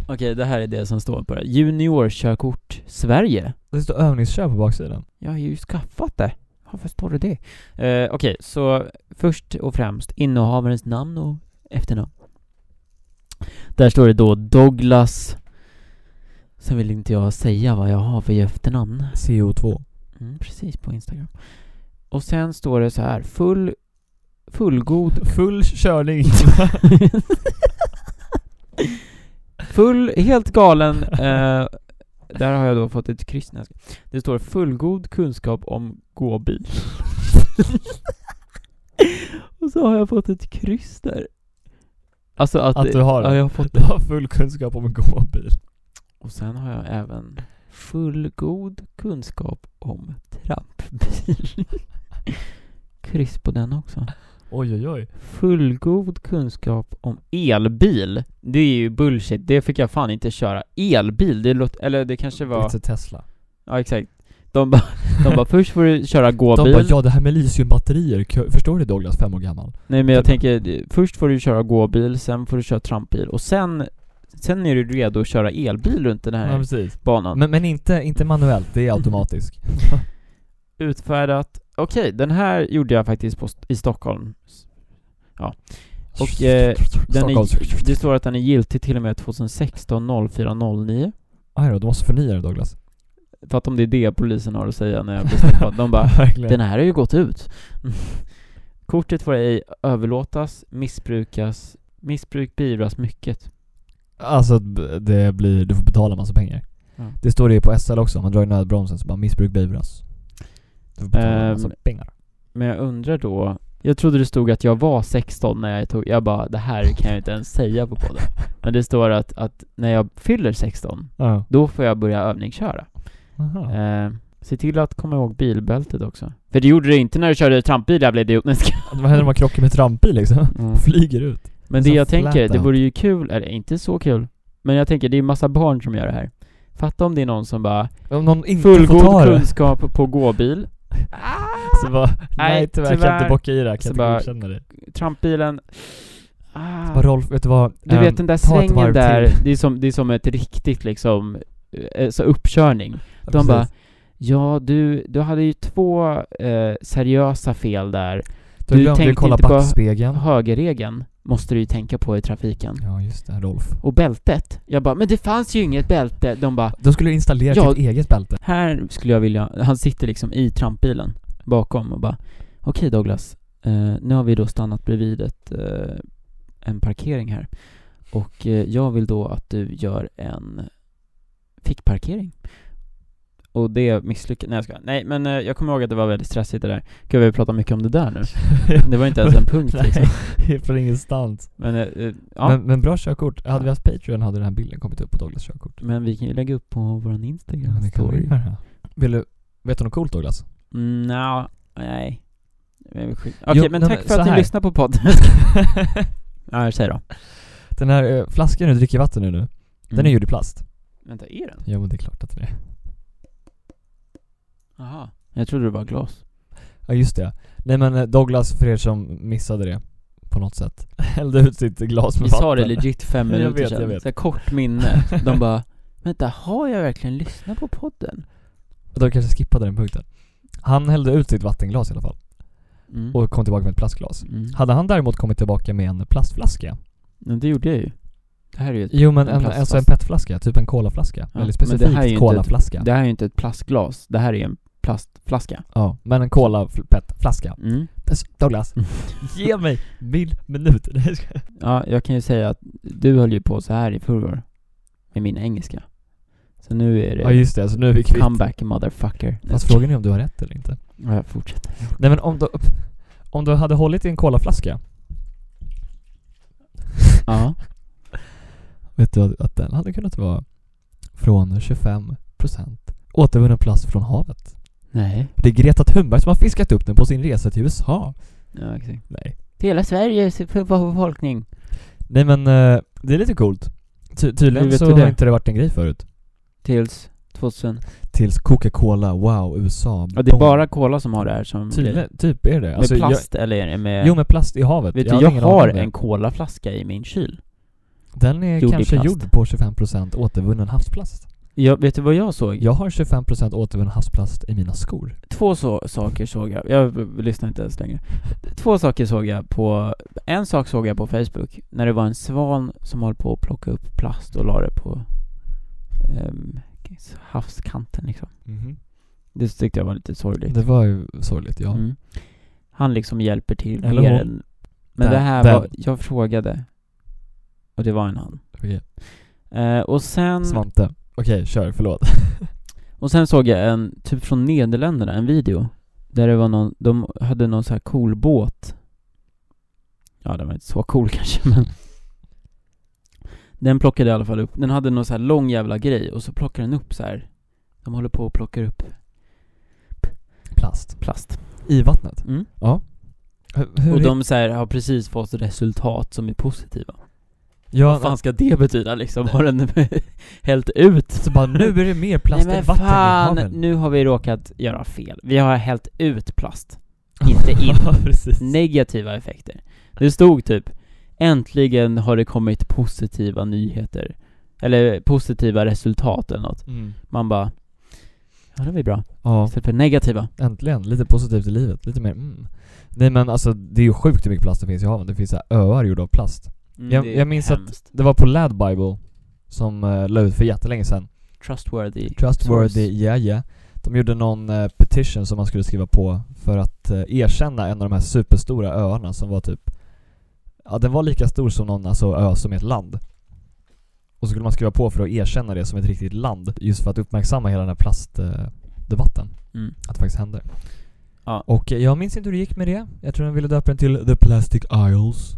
Speaker 1: Okej, det här är det som står på det Juniorkörkort Sverige
Speaker 2: Det står övningskör på baksidan.
Speaker 1: Jag har ju skaffat det Varför står det det? Eh, Okej, så först och främst innehavarens namn och efternamn. Där står det då Douglas. Sen vill inte jag säga vad jag har för efternamn.
Speaker 2: CO2.
Speaker 1: Mm, precis, på Instagram. Och sen står det så här, full, fullgod [LAUGHS]
Speaker 2: Full körning.
Speaker 1: [LAUGHS] Full, helt galen. Eh, där har jag då fått ett kryss när jag ska- Det står fullgod kunskap om gåbil. [LAUGHS] Och så har jag fått ett kryss där. Alltså att,
Speaker 2: Att du har
Speaker 1: ja,
Speaker 2: det.
Speaker 1: jag har fått
Speaker 2: Du
Speaker 1: det.
Speaker 2: har full kunskap om att gå bil.
Speaker 1: Och sen har jag även fullgod kunskap om trampbil. [LAUGHS] kryss på den också.
Speaker 2: Oj, oj, oj.
Speaker 1: Fullgod kunskap om elbil. Det är ju bullshit. Det fick jag fan inte köra. Elbil, det låter... Eller det kanske var...
Speaker 2: It's a Tesla.
Speaker 1: Ja, exakt. De bara, [LAUGHS] de bara först får du köra
Speaker 2: De
Speaker 1: gåbil.
Speaker 2: bara, ja det här med litiumbatterier, kö- förstår du Douglas, fem år gammal?
Speaker 1: Nej men jag
Speaker 2: typ.
Speaker 1: tänker, det- först får du köra gåbil, sen får du köra trampbil och sen, sen är du redo att köra elbil runt den här
Speaker 2: precis.
Speaker 1: banan.
Speaker 2: Men, men inte, inte manuellt, det är automatiskt.
Speaker 1: Utfärdat. Okej, den här gjorde jag faktiskt på, st- i Stockholm. Ja. Och eh, den är, det står att den är giltig till och med 2016 0409.
Speaker 2: Aj då, du måste förnya den Douglas.
Speaker 1: För att om det är det polisen har att säga när jag blir stoppad, de
Speaker 2: [LAUGHS]
Speaker 1: bara
Speaker 2: Verkligen.
Speaker 1: Den här har ju gått ut. [LAUGHS] Kortet får ej överlåtas, missbrukas, missbruk beivras mycket.
Speaker 2: Alltså b- det blir, du får betala massa pengar.
Speaker 1: Ja.
Speaker 2: Det står det på SL också, man drar i nödbromsen så bara missbruk beivras. Du får betala
Speaker 1: Ehm.
Speaker 2: massa pengar.
Speaker 1: Men jag undrar då, jag trodde det stod att jag var 16 när jag tog, jag bara det här kan jag inte ens säga på [LAUGHS] podden. Men det står att, att när jag fyller 16,
Speaker 2: Ja.
Speaker 1: då får jag börja övningsköra.
Speaker 2: Aha.
Speaker 1: Eh, se till att komma ihåg bilbältet också. För det gjorde det inte när du körde trampbil, jävla idiot. Nej, jag skojar.
Speaker 2: Vad händer om man krockar med trampbil liksom? [LAUGHS]
Speaker 1: Mm.
Speaker 2: Flyger ut.
Speaker 1: Men det
Speaker 2: Som
Speaker 1: jag tänker, det
Speaker 2: flat-out.
Speaker 1: vore ju kul, eller inte så kul, men jag tänker det är ju massa barn som gör det här. Fatta om det är någon som bara
Speaker 2: Om någon inte får ta
Speaker 1: Fullgod
Speaker 2: det
Speaker 1: kunskap på gåbil.
Speaker 2: [LAUGHS] så bara, nej
Speaker 1: Nej,
Speaker 2: tyvärr, kan jag
Speaker 1: tyvärr.
Speaker 2: inte bocka i det här, kan
Speaker 1: Så
Speaker 2: inte
Speaker 1: bara-
Speaker 2: godkänna det.
Speaker 1: Trampbilen. Ah.
Speaker 2: Bara Rolf, vet du vad?
Speaker 1: Du
Speaker 2: Ehm,
Speaker 1: vet den där
Speaker 2: ta ett
Speaker 1: svängen
Speaker 2: varv
Speaker 1: där,
Speaker 2: till.
Speaker 1: det är, som, det är som ett riktigt liksom, eh, så uppkörning.
Speaker 2: Ja,
Speaker 1: De
Speaker 2: precis.
Speaker 1: bara, ja du, du hade ju två eh, seriösa fel där.
Speaker 2: du,
Speaker 1: du
Speaker 2: glömde ju
Speaker 1: tänkte
Speaker 2: kolla
Speaker 1: inte på-
Speaker 2: backspegeln.
Speaker 1: Högerregeln måste du ju tänka på i trafiken.
Speaker 2: Ja just det, Rolf.
Speaker 1: Och bältet. Jag bara, men det fanns ju inget bälte. De bara,
Speaker 2: Då skulle du installera
Speaker 1: Ja.
Speaker 2: ditt
Speaker 1: [LAUGHS]
Speaker 2: eget bälte. [LAUGHS]
Speaker 1: Här skulle jag vilja, han sitter liksom i trampbilen bakom och bara Okej Douglas, eh, nu har vi då stannat bredvid ett, eh, en parkering här och eh, jag vill då att du gör en fickparkering. Och det misslyckades, nej jag skojar. Nej men eh, jag kommer ihåg att det var väldigt stressigt det där. Gud vi pratar mycket om det där nu. Det var inte ens
Speaker 2: [LAUGHS]
Speaker 1: en punkt liksom.
Speaker 2: Nej, [LAUGHS] från ingenstans.
Speaker 1: Men, eh, eh, ja.
Speaker 2: Men, men bra körkort. Hade vi haft Patreon hade den här bilden kommit upp på Douglas körkort.
Speaker 1: men vi kan ju lägga upp på våran
Speaker 2: Ja,
Speaker 1: Instagram
Speaker 2: det kan vi
Speaker 1: story.
Speaker 2: göra. [LAUGHS] Vill du, vet du något coolt Douglas?
Speaker 1: Mm, nja, nej. Men skit-
Speaker 2: Jo,
Speaker 1: Okej, men
Speaker 2: nej,
Speaker 1: tack
Speaker 2: men
Speaker 1: för
Speaker 2: så
Speaker 1: att ni
Speaker 2: här.
Speaker 1: lyssnar på [LAUGHS] podden. ja, jag säger då.
Speaker 2: Den här eh, flaskan du dricker vatten ur nu, den
Speaker 1: Mm.
Speaker 2: är gjord i plast.
Speaker 1: Vänta, är den?
Speaker 2: Jo Mm. men det är klart att den är.
Speaker 1: Jaha. Jag trodde det var glas.
Speaker 2: Ja just det. Nej men eh, Douglas, för er som missade det på något sätt, [LAUGHS] hällde ut sitt glas med
Speaker 1: Vi
Speaker 2: vatten.
Speaker 1: sa det legit fem
Speaker 2: Jag
Speaker 1: minuter
Speaker 2: vet,
Speaker 1: sedan.
Speaker 2: jag vet.
Speaker 1: Så här kort minne. De bara, vänta, har jag verkligen lyssnat på podden?
Speaker 2: De kanske skippade den punkten. Han hällde ut sitt vattenglas i alla fall
Speaker 1: Mm.
Speaker 2: och kom tillbaka med ett plastglas.
Speaker 1: Mm.
Speaker 2: Hade han däremot kommit tillbaka med en plastflaska?
Speaker 1: Men det gjorde jag ju. Det här är ju ett,
Speaker 2: Jo
Speaker 1: En
Speaker 2: men en,
Speaker 1: typ plastflaska.
Speaker 2: alltså en petflaska, typ en colaflaska.
Speaker 1: Ja,
Speaker 2: Väldigt
Speaker 1: men det här är ju inte
Speaker 2: specifikt
Speaker 1: ett-
Speaker 2: colaflaska.
Speaker 1: det här är ju inte ett plastglas. Det här är en plastflaska.
Speaker 2: Ja, men en colapetflaska.
Speaker 1: [LAUGHS] Mm.
Speaker 2: Douglas, ge mig min minut. [LAUGHS] Nej, jag skojar.
Speaker 1: Ja, jag kan ju säga att du höll ju på så här i förrgår. Med min engelska. Så nu är det
Speaker 2: ja just det, alltså nu är vi kvitt.
Speaker 1: comeback motherfucker.
Speaker 2: Fast frågan är om du har rätt eller inte.
Speaker 1: Ja, jag fortsätter.
Speaker 2: Nej men om du, om du hade hållit i en colaflaska,
Speaker 1: [LAUGHS] Ja.
Speaker 2: [LAUGHS] vet du att- att den hade kunnat vara från 25% återvunnen plast från havet.
Speaker 1: Nej.
Speaker 2: Det är Greta Thunberg som har fiskat upp den på sin resa till USA.
Speaker 1: Ja, exakt.
Speaker 2: Nej.
Speaker 1: Hela Sveriges befolkning.
Speaker 2: Nej men eh, det är lite coolt. Ty- tydligen
Speaker 1: Hur vet
Speaker 2: så
Speaker 1: du
Speaker 2: har
Speaker 1: det?
Speaker 2: inte det varit en grej förut.
Speaker 1: Tills 2000.
Speaker 2: Tills Coca-Cola, wow, USA.
Speaker 1: Ja, det är
Speaker 2: boom.
Speaker 1: bara cola som har det här som...
Speaker 2: Tydligen, typ är det.
Speaker 1: Med
Speaker 2: Alltså,
Speaker 1: plast eller är det med...
Speaker 2: Jag, jo med plast i havet.
Speaker 1: vet
Speaker 2: hade
Speaker 1: du, jag
Speaker 2: ingen aning om
Speaker 1: har
Speaker 2: det.
Speaker 1: en colaflaska i min kyl.
Speaker 2: Den är
Speaker 1: gjord i
Speaker 2: kanske
Speaker 1: plast.
Speaker 2: gjord på 25% återvunnen havsplast.
Speaker 1: Jag, vet du vad jag såg?
Speaker 2: Jag har 25% återvunnen havsplast i mina skor.
Speaker 1: Två så, saker såg jag. Jag v- lyssnar inte ens längre. Två saker såg jag på... En sak såg jag på Facebook. När det var en svan som höll på att plocka upp plast och la det på ehm, havskanten liksom. Det tyckte jag var lite sorgligt.
Speaker 2: Det var ju sorgligt, ja.
Speaker 1: Mm. Han liksom hjälper till
Speaker 2: Eller
Speaker 1: mer
Speaker 2: hon.
Speaker 1: än... Men
Speaker 2: Vem?
Speaker 1: det här
Speaker 2: Vem?
Speaker 1: var... Jag frågade. Och det var en han.
Speaker 2: Okej.
Speaker 1: Eh, och, sen,
Speaker 2: Svante. Okej, kör, förlåt. [LAUGHS]
Speaker 1: och sen såg jag en, typ från Nederländerna, en video. Där det var någon, de hade någon så här cool båt. Ja, den var inte så cool [LAUGHS] kanske men. Den plockade i alla fall upp, den hade någon så här lång jävla grej och så plockar den upp så här. De håller på och plockar upp
Speaker 2: Plast.
Speaker 1: plast.
Speaker 2: I vattnet?
Speaker 1: Mm.
Speaker 2: Ja. Hur, hur
Speaker 1: Och
Speaker 2: är-
Speaker 1: de så här har precis fått resultat som är positiva.
Speaker 2: Ja,
Speaker 1: Vad fan ska det betyda liksom? Har den [LAUGHS] hällt ut?
Speaker 2: så alltså, bara nu är det mer plast
Speaker 1: Nej
Speaker 2: än
Speaker 1: men
Speaker 2: vatten i
Speaker 1: fan,
Speaker 2: haven.
Speaker 1: nu har vi råkat göra fel. Vi har hällt ut plast. inte in.
Speaker 2: [LAUGHS] Ja, precis.
Speaker 1: Negativa effekter. Det stod typ Äntligen har det kommit positiva nyheter. Eller positiva resultat eller något.
Speaker 2: Mm.
Speaker 1: Man bara Ja det var ju bra.
Speaker 2: Ja,
Speaker 1: Istället för negativa.
Speaker 2: äntligen. Lite positivt i livet. Lite mer mm. Nej men alltså det är ju sjukt hur mycket plast det finns i haven. Det finns så här öar gjorda av plast.
Speaker 1: Mm,
Speaker 2: Jag-
Speaker 1: det är
Speaker 2: jag minns att-
Speaker 1: hemskt.
Speaker 2: Det var på Lad Bible som uh, la ut för jättelänge sedan.
Speaker 1: Trustworthy.
Speaker 2: Trustworthy,
Speaker 1: source.
Speaker 2: yeah yeah. De gjorde någon eh, petition som man skulle skriva på för att eh, erkänna en av de här superstora öarna som var typ Ja den var lika stor som någon alltså, ö som är ett land. Och så skulle man skriva på för att erkänna det som ett riktigt land just för att uppmärksamma hela den här plastdebatten.
Speaker 1: Mm.
Speaker 2: att det faktiskt händer.
Speaker 1: Ja.
Speaker 2: Och eh, jag minns inte hur det gick med det. Jag tror de ville döpa den till The Plastic Isles.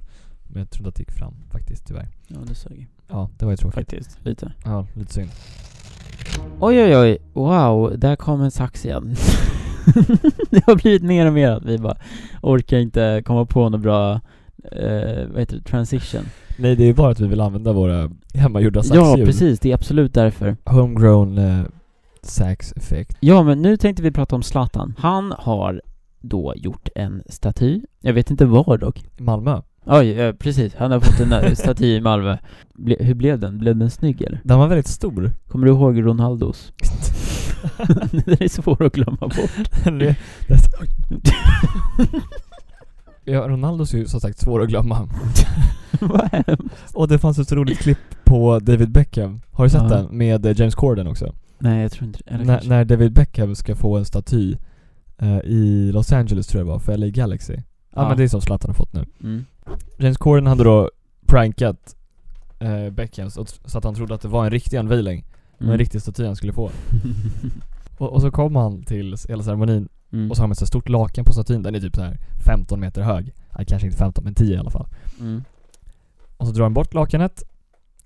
Speaker 2: Men jag tror inte att det gick fram faktiskt tyvärr.
Speaker 1: Ja det sög
Speaker 2: Ja, det var ju tråkigt.
Speaker 1: faktiskt lite.
Speaker 2: Ja, lite synd.
Speaker 1: Oj oj oj, wow, där kom en sax igen. [LAUGHS] det har blivit mer och mer att vi bara orkar inte komma på något bra, eh, vad heter det, transition.
Speaker 2: Nej, det är ju bara att vi vill använda våra hemmagjorda
Speaker 1: Ja
Speaker 2: saxhjul.
Speaker 1: precis, det är absolut därför.
Speaker 2: Homegrown eh, sax effect.
Speaker 1: Ja men nu tänkte vi prata om Zlatan. Han har då gjort en staty, jag vet inte var dock.
Speaker 2: Malmö.
Speaker 1: Oj, eh, precis, han har fått en
Speaker 2: [LAUGHS]
Speaker 1: eh, staty i Malmö. Ble, hur blev den? Blev den snygg eller?
Speaker 2: Den var väldigt stor. [LAUGHS]
Speaker 1: Kommer du ihåg Ronaldos? [LAUGHS] den är svår att glömma
Speaker 2: [LAUGHS]
Speaker 1: bort.
Speaker 2: Det- det- ja, Ronaldos är ju som sagt svår att glömma.
Speaker 1: Vad hemskt.
Speaker 2: Och det fanns ett så roligt klipp på David Beckham. Har du sett
Speaker 1: Ja.
Speaker 2: den? Med eh, James Corden också.
Speaker 1: Nej jag tror inte eller
Speaker 2: När,
Speaker 1: kanske.
Speaker 2: när David Beckham ska få en staty eh, i Los Angeles tror jag det var, för LA Galaxy. Ja,
Speaker 1: Ja.
Speaker 2: men det är som Zlatan har fått nu.
Speaker 1: Mm.
Speaker 2: James Corden hade då prankat eh, Beckham så att- så att han trodde att det var en riktig anviling.
Speaker 1: Mm.
Speaker 2: En riktig staty han skulle få. Och, och så kom han till hela ceremonin
Speaker 1: Mm.
Speaker 2: och så har man ett så stort lakan på statyn. Den är typ så här 15 meter hög. Nej, kanske inte 15 men 10 i alla fall.
Speaker 1: Mm.
Speaker 2: Och så drar han bort lakanet.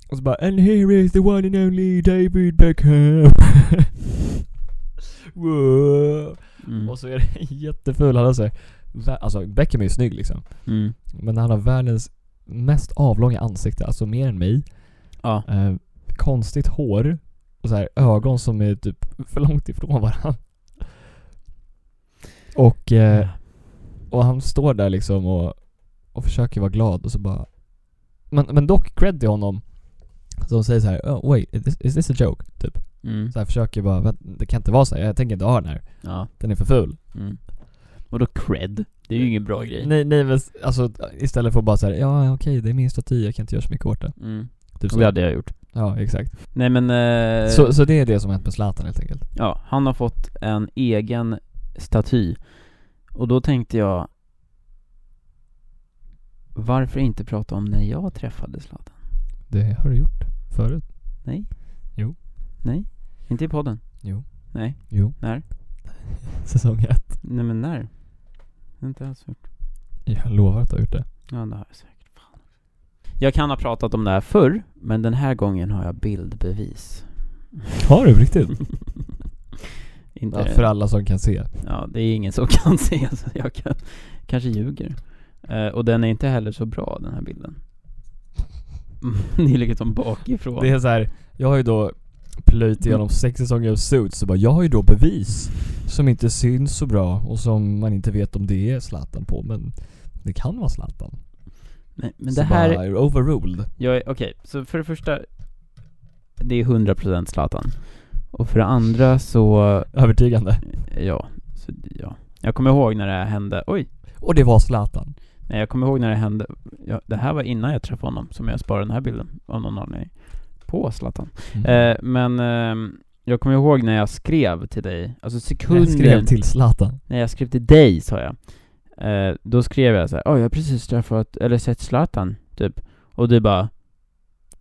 Speaker 2: Och så bara 'And here is the one and only David Beckham' [LAUGHS] Wow.
Speaker 1: Mm.
Speaker 2: Och så är det [LAUGHS] en jätteful, han har så här, vä- Alltså Beckham är ju snygg liksom.
Speaker 1: Mm.
Speaker 2: Men han har världens mest avlånga ansikte, alltså mer än mig.
Speaker 1: Ja.
Speaker 2: Eh, konstigt hår och så här, ögon som är typ för långt ifrån varandra. Och,
Speaker 1: Mm.
Speaker 2: eh, och han står där liksom och, och försöker vara glad och så bara... Men, men dock cred till honom. Som säger så här, oh, wait, is this, is this a joke? Typ.
Speaker 1: Mm.
Speaker 2: Så här försöker bara, "Vänta, det kan inte vara så här. jag tänker inte ha den här.
Speaker 1: Ja.
Speaker 2: Den är för ful.
Speaker 1: Mm. Och då cred? Det är ju ingen bra grej.
Speaker 2: Nej, nej men s- alltså istället för att bara så här, ja okej det är min staty, jag kan inte göra så mycket åt det.
Speaker 1: Mm.
Speaker 2: Typ
Speaker 1: Det
Speaker 2: så.
Speaker 1: hade jag gjort.
Speaker 2: Ja, exakt.
Speaker 1: Nej men, eh,
Speaker 2: Så, så det är det som har hänt med Zlatan helt enkelt.
Speaker 1: ja, han har fått en egen staty. Och då tänkte jag, varför inte prata om när jag träffade Zlatan?
Speaker 2: Det har du gjort förut.
Speaker 1: Nej?
Speaker 2: Jo.
Speaker 1: Nej? Inte i podden?
Speaker 2: Jo.
Speaker 1: Nej?
Speaker 2: Jo.
Speaker 1: När?
Speaker 2: [LAUGHS] Säsong 1.
Speaker 1: Nej men när? Det har Inte alls gjort.
Speaker 2: Jag lovar att du har gjort det.
Speaker 1: Ja det har jag säkert. Fan. Jag kan ha pratat om det här förr, men den här gången har jag bildbevis.
Speaker 2: Har du
Speaker 1: [LAUGHS]
Speaker 2: på riktigt?
Speaker 1: Inte
Speaker 2: Ja, för alla som kan se.
Speaker 1: Ja, det är ingen som [LAUGHS] kan se så jag kan, kanske ljuger. Eh, och den är inte heller så bra den här bilden. Mm, [LAUGHS] det är liksom bakifrån.
Speaker 2: Det är så här, jag har ju då plöjt
Speaker 1: Mm.
Speaker 2: igenom sex säsonger av Suits och bara jag har ju då bevis som inte syns så bra och som man inte vet om det är Zlatan på men det kan vara Zlatan.
Speaker 1: Nej, men
Speaker 2: så
Speaker 1: det här,
Speaker 2: bara, overruled.
Speaker 1: jag är, okej, så för det första, det är 100% Zlatan. Och för det andra så,
Speaker 2: Övertygande.
Speaker 1: ja, så, ja. Jag kommer ihåg när det här hände, oj!
Speaker 2: Och det var Zlatan.
Speaker 1: Nej jag kommer ihåg när det hände, ja, det här var innan jag träffade honom som jag sparade den här bilden av någon anledning. På Zlatan.
Speaker 2: Mm.
Speaker 1: Eh, men ehm, jag kommer ihåg när jag skrev till dig, alltså sekunden...
Speaker 2: Jag skrev till Zlatan.
Speaker 1: När jag skrev till dig sa jag. Eh, då skrev jag så här, "Åh, jag har precis träffat, eller sett Zlatan, typ. Och du bara,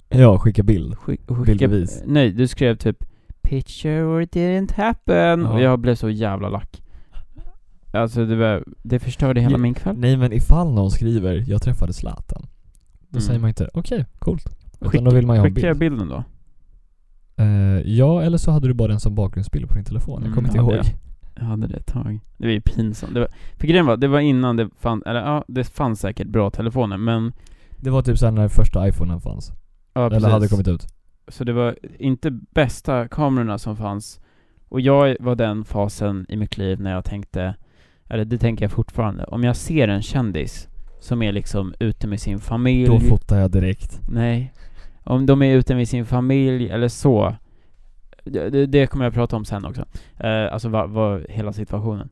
Speaker 2: Ja, skicka bild.
Speaker 1: skick, skicka...
Speaker 2: Bildbevis.
Speaker 1: Nej, du skrev typ 'Picture or it didn't happen'
Speaker 2: Ja.
Speaker 1: och jag blev så jävla lack. Alltså det var, det förstörde hela
Speaker 2: Ja,
Speaker 1: min kväll.
Speaker 2: Nej men ifall någon skriver 'Jag träffade Zlatan' Då
Speaker 1: Mm.
Speaker 2: säger man inte 'Okej, coolt' Utan
Speaker 1: Skicka-
Speaker 2: då vill man ju ha en
Speaker 1: Skickade
Speaker 2: bild.
Speaker 1: jag bilden då?
Speaker 2: Eh, ja, eller så hade du bara den som bakgrundsbild på din telefon. Jag
Speaker 1: Mm,
Speaker 2: kommer inte
Speaker 1: ja,
Speaker 2: ihåg.
Speaker 1: det. Jag hade det ett tag. Det var ju pinsamt. Det var, för grejen var, det var innan det fanns, eller ja, det fanns säkert bra telefoner men
Speaker 2: Det var typ sen när första iPhonen fanns.
Speaker 1: ja,
Speaker 2: eller hade
Speaker 1: precis.
Speaker 2: kommit ut.
Speaker 1: Så det var inte bästa kamerorna som fanns. Och jag var den fasen i mitt liv när jag tänkte, eller det tänker jag fortfarande, om jag ser en kändis som är liksom ute med sin familj.
Speaker 2: Då fotar jag direkt.
Speaker 1: Nej. Om de är ute med sin familj eller så. Det, det- det kommer jag prata om sen också. Eh, alltså vad, vad, hela situationen.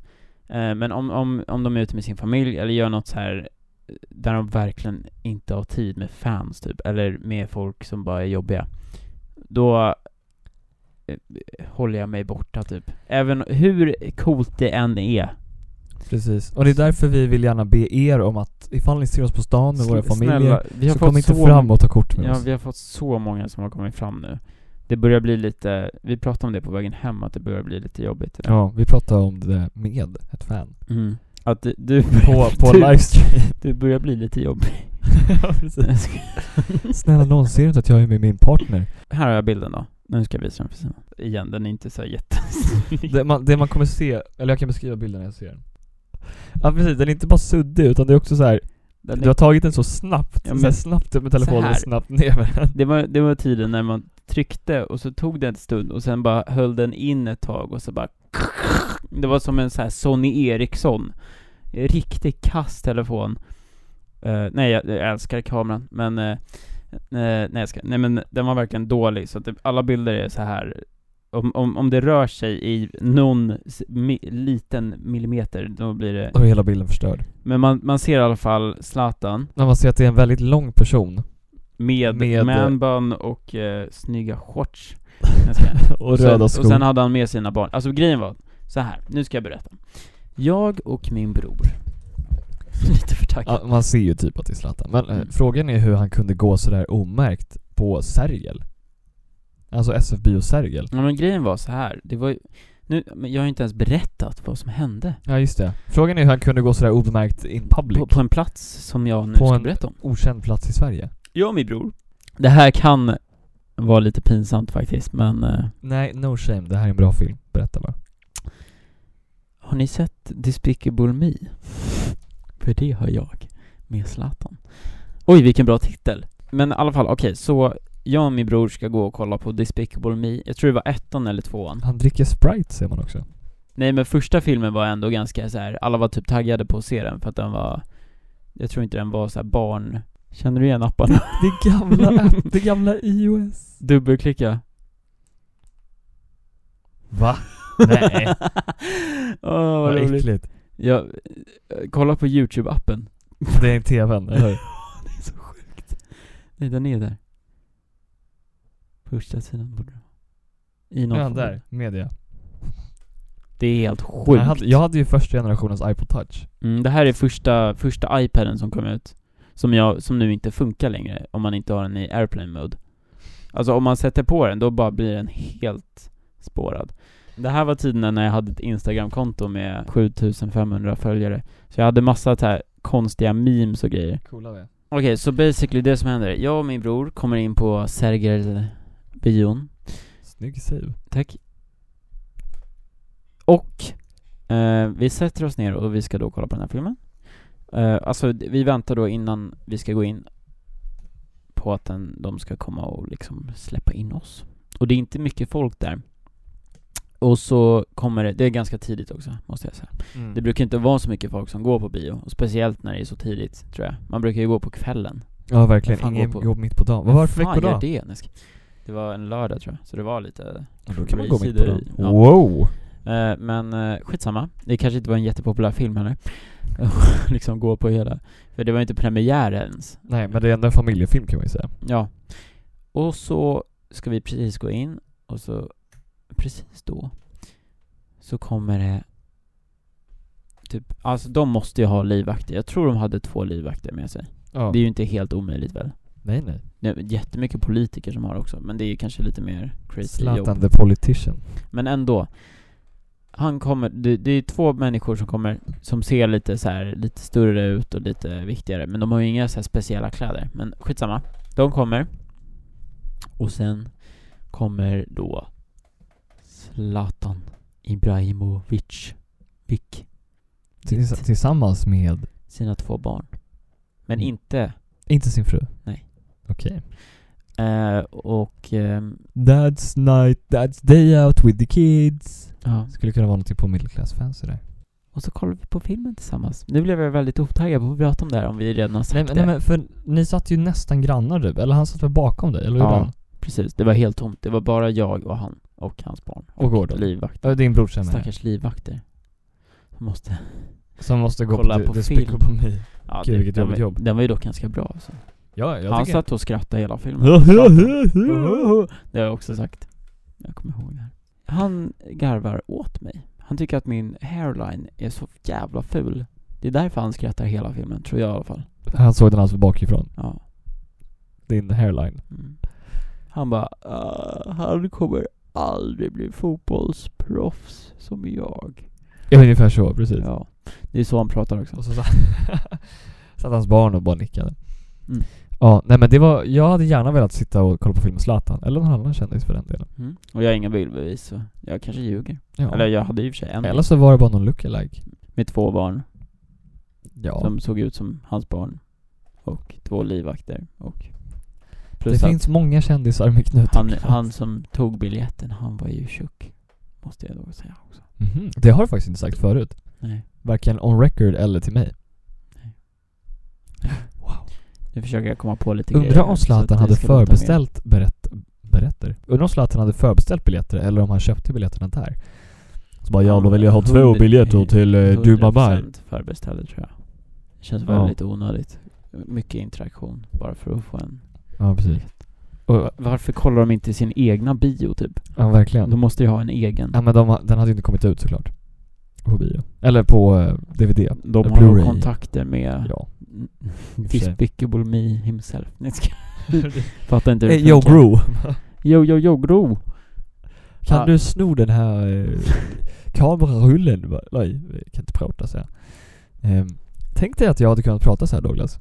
Speaker 1: Eh, men om, om, om de är ute med sin familj eller gör något så här eh, där de verkligen inte har tid med fans typ, eller med folk som bara är jobbiga. Då eh, håller jag mig borta typ. Även hur coolt det än är.
Speaker 2: Precis. Och det är därför vi vill gärna be er om att ifall ni ser oss på stan med våra
Speaker 1: Sn-
Speaker 2: familjer,
Speaker 1: vi har
Speaker 2: så
Speaker 1: fått
Speaker 2: kom inte
Speaker 1: så
Speaker 2: fram och ta kort med
Speaker 1: Ja,
Speaker 2: oss.
Speaker 1: vi har fått så många som har kommit fram nu. Det börjar bli lite, vi pratade om det på vägen hem, att det börjar bli lite jobbigt. idag.
Speaker 2: Ja, vi pratade om det där med ett fan. Typ.
Speaker 1: Mm. Att du, du,
Speaker 2: På, på [LAUGHS]
Speaker 1: du,
Speaker 2: livestream.
Speaker 1: [LAUGHS] du börjar bli lite jobbig.
Speaker 2: [LAUGHS] Ja, precis. Snälla någon ser inte att jag är med min
Speaker 1: [LAUGHS]
Speaker 2: partner?
Speaker 1: här har jag bilden då. Nu ska jag visa den för Simon. Igen, den är inte så jätte...
Speaker 2: Det man, det man kommer se, eller jag kan beskriva bilden när jag ser den. Ja precis, den är inte bara suddig utan det är också så här.
Speaker 1: Den
Speaker 2: du har
Speaker 1: är,
Speaker 2: tagit den så snabbt,
Speaker 1: Ja, men-
Speaker 2: så här snabbt upp med telefonen
Speaker 1: här.
Speaker 2: och snabbt ner med den.
Speaker 1: det, var, det var tiden när man tryckte och så tog det en stund och sen bara höll den in ett tag och så bara... Det var som en så här Sony Ericsson. Riktig kass telefon. Eh, nej, jag, jag älskar kameran, men... eh, eh, nej, jag ska, nej, men den var verkligen dålig, så att det, alla bilder är så här om, om, om det rör sig i någon s- mi, liten millimeter, då blir det...
Speaker 2: Då är hela bilden förstörd.
Speaker 1: Men man, man ser i alla fall Zlatan
Speaker 2: När man ser att det är en väldigt lång person
Speaker 1: med,
Speaker 2: Med- eh,
Speaker 1: manbun och eh, snygga
Speaker 2: [LAUGHS]
Speaker 1: shorts. Jag ska-
Speaker 2: [LAUGHS] och röda
Speaker 1: sen,
Speaker 2: skor.
Speaker 1: och sen hade han med sina barn. Alltså grejen var så här. nu ska jag berätta. Jag och min bror, [LAUGHS] lite förtaggad.
Speaker 2: ja, man ser ju typ att det är Zlatan. Men eh,
Speaker 1: Mm.
Speaker 2: frågan är hur han kunde gå sådär omärkt på Sergel. Alltså SF Bio Sergel.
Speaker 1: Ja men grejen var så här. det var ju, nu, men jag har ju inte ens berättat vad som hände.
Speaker 2: Ja just det. Frågan är hur han kunde gå sådär obemärkt in public.
Speaker 1: På, på en plats som jag nu
Speaker 2: På
Speaker 1: ska
Speaker 2: en-
Speaker 1: berätta om.
Speaker 2: okänd plats i Sverige.
Speaker 1: Jag och min bror. Det här kan vara lite pinsamt faktiskt, men eh,
Speaker 2: Nej, no shame. Det här är en bra film. Berätta bara.
Speaker 1: Har ni sett Despicable Me? För det har jag, med Zlatan. Oj, vilken bra titel! Men i alla fall, okej, så jag och min bror ska gå och kolla på Despicable Me. Jag tror det var ettan eller tvåan.
Speaker 2: Han dricker Sprite ser man också.
Speaker 1: Nej, men första filmen var ändå ganska så här. alla var typ taggade på att se den för att den var... Jag tror inte den var så här barn... Känner du igen apparna? [LAUGHS]
Speaker 2: Det gamla, det gamla iOS.
Speaker 1: Dubbelklicka.
Speaker 2: Va? [LAUGHS] Nej.
Speaker 1: [LAUGHS] Åh, vad
Speaker 2: Vad
Speaker 1: roligt.
Speaker 2: äckligt.
Speaker 1: Jag, eh, kolla på YouTube-appen.
Speaker 2: Det är en TVn, eller hur?
Speaker 1: Det är så sjukt. Nej, den är där. Första sidan borde det vara. I någon
Speaker 2: Ja,
Speaker 1: form.
Speaker 2: där. Media.
Speaker 1: Det är helt
Speaker 2: Jag
Speaker 1: sjukt.
Speaker 2: hade, jag hade ju första generationens iPod touch.
Speaker 1: Mm, det här är första, första iPaden som kom ut. Som, jag, som nu inte funkar längre om man inte har den i airplane mode. Alltså om man sätter på den, då bara blir den helt spårad. Det här var tiden när jag hade ett Instagramkonto med 7500 följare. Så jag hade massa så här konstiga memes och grejer.
Speaker 2: Coola vi
Speaker 1: Okej, så basically det som händer, jag och min bror kommer in på Sergel-bion,
Speaker 2: Snygg save.
Speaker 1: tack. Och eh, vi sätter oss ner och vi ska då kolla på den här filmen. Eh, alltså d- vi väntar då innan vi ska gå in på att den, de ska komma och liksom släppa in oss. Och det är inte mycket folk där. Och så kommer det, det är ganska tidigt också måste jag säga.
Speaker 2: Mm.
Speaker 1: Det brukar inte vara så mycket folk som går på bio, och speciellt när det är så tidigt tror jag. Man brukar ju gå på kvällen.
Speaker 2: Ja verkligen,
Speaker 1: Fan,
Speaker 2: ingen
Speaker 1: gå på-
Speaker 2: går mitt på dagen. Vad var det för
Speaker 1: fan
Speaker 2: mitt på
Speaker 1: gör
Speaker 2: dagen?
Speaker 1: det? Nej, jag ska- Det var en lördag tror jag, så det var lite...
Speaker 2: Ja, Då kan man gå mitt på dagen.
Speaker 1: Sidor- ja.
Speaker 2: Wow!
Speaker 1: Eh, men eh, skitsamma, det kanske inte var en jättepopulär film heller. [LAUGHS] liksom gå på hela... För det var ju inte premiär ens.
Speaker 2: Nej men det är ändå en familjefilm kan man ju säga.
Speaker 1: Ja. Och så ska vi precis gå in och så precis då så kommer det typ, alltså de måste ju ha livvakter. Jag tror de hade två livvakter med sig.
Speaker 2: Ja.
Speaker 1: Det är ju inte helt omöjligt väl?
Speaker 2: Nej nej.
Speaker 1: Det är jättemycket politiker som har också, men det är ju kanske lite mer crazy jobb.
Speaker 2: Zlatan the politician.
Speaker 1: Men ändå. Han kommer, det, det är två människor som kommer, som ser lite så här, lite större ut och lite viktigare. Men de har ju inga så här speciella kläder. Men skitsamma. De kommer. Och sen kommer då Zlatan Ibrahimovic Vic,
Speaker 2: Tills- Tillsammans med,
Speaker 1: sina två barn. Men
Speaker 2: Mm.
Speaker 1: inte,
Speaker 2: inte sin fru.
Speaker 1: Nej.
Speaker 2: Okej.
Speaker 1: Eh, och... ehm,
Speaker 2: That's night, that's day out with the kids.
Speaker 1: ja.
Speaker 2: Skulle kunna vara någonting på middle class fancy där.
Speaker 1: Och så kollar vi på filmen tillsammans. Nu blev jag väldigt otaggad på att prata om det här om vi redan har sagt
Speaker 2: Nej,
Speaker 1: det.
Speaker 2: men- nej men för ni satt ju nästan grannar du, eller han satt väl bakom dig, eller hur?
Speaker 1: Ja.
Speaker 2: Ja.
Speaker 1: Precis, det var helt tomt. Det var bara jag och han och hans barn.
Speaker 2: Och Gordon.
Speaker 1: livvakt.
Speaker 2: Ja, Din brorsa menar jag.
Speaker 1: Stackars livvakter. Jag Måste...
Speaker 2: Som måste gå
Speaker 1: Kolla
Speaker 2: på,
Speaker 1: på
Speaker 2: det
Speaker 1: film.
Speaker 2: spyr på mig.
Speaker 1: Ja,
Speaker 2: Gud, vilket
Speaker 1: den,
Speaker 2: jobbigt
Speaker 1: var-
Speaker 2: jobb.
Speaker 1: den var ju dock ganska bra alltså.
Speaker 2: Ja, jag
Speaker 1: Han
Speaker 2: tycker...
Speaker 1: satt och skrattade hela filmen. [LAUGHS] Det har jag också sagt. Jag kommer ihåg det här. Han garvar åt mig. Han tycker att min hairline är så jävla ful. Det är därför han skrattar hela filmen, tror jag i alla fall.
Speaker 2: Han såg den alltså bakifrån.
Speaker 1: Ja.
Speaker 2: Din hairline.
Speaker 1: Mm. Han bara, "Ah, han kommer aldrig bli fotbollsproffs som jag.
Speaker 2: Ja, ungefär så, precis.
Speaker 1: Ja. Det är så han pratar också.
Speaker 2: Och så satt, [LAUGHS] satt hans barn och bara nickade.
Speaker 1: Mm.
Speaker 2: Ja, nej men det var, jag hade gärna velat sitta och kolla på filmen Zlatan, eller någon annan kändis för den delen.
Speaker 1: Mm. Och jag har inga bildbevis så jag kanske ljuger.
Speaker 2: Ja.
Speaker 1: Eller jag hade i och för sig en
Speaker 2: eller så var det bara någon lookalike.
Speaker 1: med två barn
Speaker 2: Ja.
Speaker 1: som såg ut som hans barn. Och två livvakter och...
Speaker 2: det
Speaker 1: Plus att
Speaker 2: finns många kändisar med knuten
Speaker 1: han,
Speaker 2: krans.
Speaker 1: han som tog biljetten, han var ju tjock. Måste jag då säga också.
Speaker 2: Mhm. Det har du faktiskt inte sagt förut.
Speaker 1: Nej.
Speaker 2: Varken on record eller till mig. Wow.
Speaker 1: Nu försöker jag komma på lite
Speaker 2: Undrar
Speaker 1: grejer.
Speaker 2: om
Speaker 1: här, så att
Speaker 2: Zlatan
Speaker 1: det
Speaker 2: hade
Speaker 1: ska låta mer-
Speaker 2: förbeställt berätt, berätter. Undrar om Zlatan hade förbeställt biljetter eller om han köpte biljetterna där. Så bara ja, då vill jag ha två
Speaker 1: Hundra-
Speaker 2: biljetter till eh, Dubai.
Speaker 1: 100% förbeställda tror jag. Det känns
Speaker 2: Ja.
Speaker 1: väldigt onödigt. Mycket interaktion bara för att få en...
Speaker 2: Ja, precis. Och,
Speaker 1: Varför kollar de inte sin egna bio typ?
Speaker 2: ja, verkligen.
Speaker 1: De måste ju ha en egen.
Speaker 2: Ja, men de, har- den hade ju inte kommit ut såklart. På bio. Eller på eh, DVD.
Speaker 1: De
Speaker 2: Eh,
Speaker 1: har nog
Speaker 2: Blu-ray.
Speaker 1: kontakter med
Speaker 2: Ja.
Speaker 1: mm,
Speaker 2: och för sig.
Speaker 1: Despicable Me himself. Nej, jag ska-
Speaker 2: [LAUGHS]
Speaker 1: Fattar inte hur
Speaker 2: Eh,
Speaker 1: det
Speaker 2: yo
Speaker 1: funkar.
Speaker 2: bro.
Speaker 1: Yo, yo, yo, bro.
Speaker 2: Kan
Speaker 1: Ja.
Speaker 2: du sno den här eh, kamerarullen? Va? Nej, jag kan inte prata så här. Ehm, tänk dig att jag hade kunnat prata så här Douglas.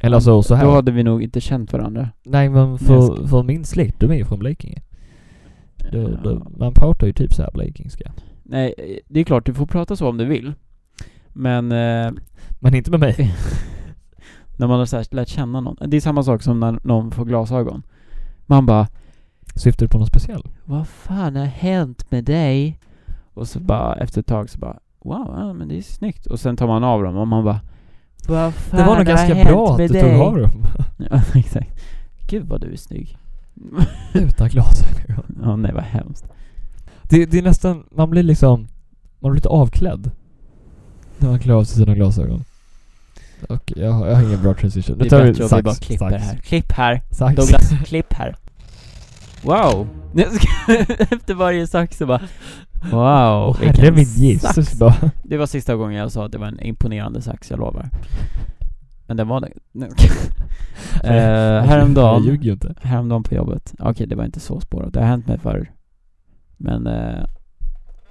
Speaker 2: Eller alltså så här.
Speaker 1: Då hade vi nog inte känt varandra.
Speaker 2: Nej men
Speaker 1: Nej,
Speaker 2: för,
Speaker 1: jag
Speaker 2: för min släkt, de är ju från Blekinge. Då,
Speaker 1: Ja.
Speaker 2: då, man pratar ju typ så här blekingska.
Speaker 1: Eh, Nej, eh, det är klart, du får prata så om du vill. Men eh,
Speaker 2: Men inte med mig.
Speaker 1: när man har så här lärt känna någon. Det är samma sak som när någon får glasögon. Man bara
Speaker 2: Syftar du på något speciellt?
Speaker 1: Vad fan har hänt med dig? Och så bara efter ett tag så bara Wow, ja, men det är snyggt. Och sen tar man av dem och man bara Vad fan
Speaker 2: Det var nog
Speaker 1: har
Speaker 2: ganska
Speaker 1: hänt
Speaker 2: bra att
Speaker 1: med
Speaker 2: du tog
Speaker 1: dig?"
Speaker 2: av dem.
Speaker 1: [LAUGHS] Ja, exakt. Gud vad du är snygg.
Speaker 2: [LAUGHS]
Speaker 1: [LAUGHS]
Speaker 2: Utan glasögon.
Speaker 1: Ja, nej vad hemskt.
Speaker 2: Det, det är nästan, man blir liksom, man blir lite avklädd. När man klär av sig sina glasögon. Okej, jag, har- jag har ingen bra transition.
Speaker 1: Det
Speaker 2: Nu
Speaker 1: är
Speaker 2: tar vi
Speaker 1: bättre om vi
Speaker 2: sax,
Speaker 1: bara klipper
Speaker 2: sax,
Speaker 1: här. Klipp här!
Speaker 2: Sax.
Speaker 1: Douglas, klipp här. Wow! [LAUGHS] Nej, jag ska- efter varje sax så bara Wow,
Speaker 2: Åh herre
Speaker 1: vilken
Speaker 2: min
Speaker 1: sax.
Speaker 2: Jesus. Bara,
Speaker 1: Det var sista gången jag sa att det var en imponerande sax, jag lovar. Men den var det. Nej.
Speaker 2: [LAUGHS]
Speaker 1: Eh,
Speaker 2: Jag
Speaker 1: häromdagen,
Speaker 2: ljuger ju inte.
Speaker 1: häromdagen på jobbet. Okej, det var inte så spårat. Det har hänt mig förr. Men eh,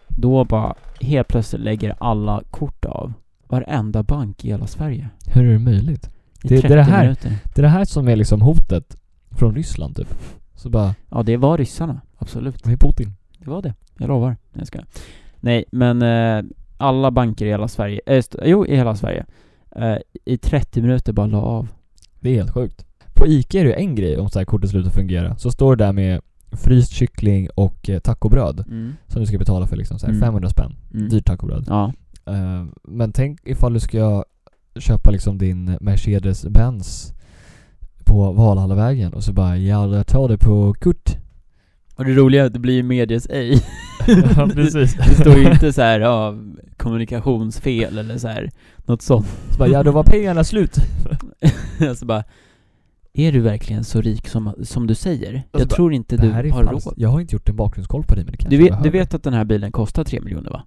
Speaker 1: då bara helt plötsligt lägger alla kort av. Varenda bank i hela Sverige.
Speaker 2: Hur är det möjligt?
Speaker 1: I
Speaker 2: Det- det
Speaker 1: 30
Speaker 2: är det här.
Speaker 1: minuter.
Speaker 2: Det är det här som är liksom hotet från Ryssland typ. Så bara,
Speaker 1: Ja, det var ryssarna. Absolut.
Speaker 2: det är Putin.
Speaker 1: Det var det. Jag lovar. Nej, jag skojar. Nej, men eh, alla banker i hela Sverige, eh, st- jo, i hela Sverige, eh, i 30 minuter bara la av.
Speaker 2: Det är helt sjukt. På ICA är det ju en grej om så här kortet slutar fungera. Så står det där med fryst kyckling och eh, tacobröd
Speaker 1: Mm.
Speaker 2: som du ska betala för liksom så här
Speaker 1: Mm.
Speaker 2: 500 spänn.
Speaker 1: Mm.
Speaker 2: Dyrt tacobröd.
Speaker 1: Ja.
Speaker 2: Eh, men tänk ifall du ska köpa liksom din Mercedes-Benz på Valhallavägen och så bara ja, jag tar det på kort.
Speaker 1: Och det roliga är att det blir ju medias ej.
Speaker 2: ja, precis.
Speaker 1: Det står ju inte så här av kommunikationsfel eller så här något sånt. [LAUGHS]
Speaker 2: Så bara, ja, då var pengarna slut.
Speaker 1: alltså bara, är du verkligen så rik som, som du säger?
Speaker 2: Alltså bara,
Speaker 1: Jag tror inte
Speaker 2: Det
Speaker 1: [LAUGHS] du
Speaker 2: här är
Speaker 1: har
Speaker 2: falskt. Alltså
Speaker 1: råd.
Speaker 2: Jag har inte gjort en bakgrundskoll på dig men det kanske
Speaker 1: Du vet,
Speaker 2: behöver.
Speaker 1: du vet att den här bilen kostar 3 miljoner va?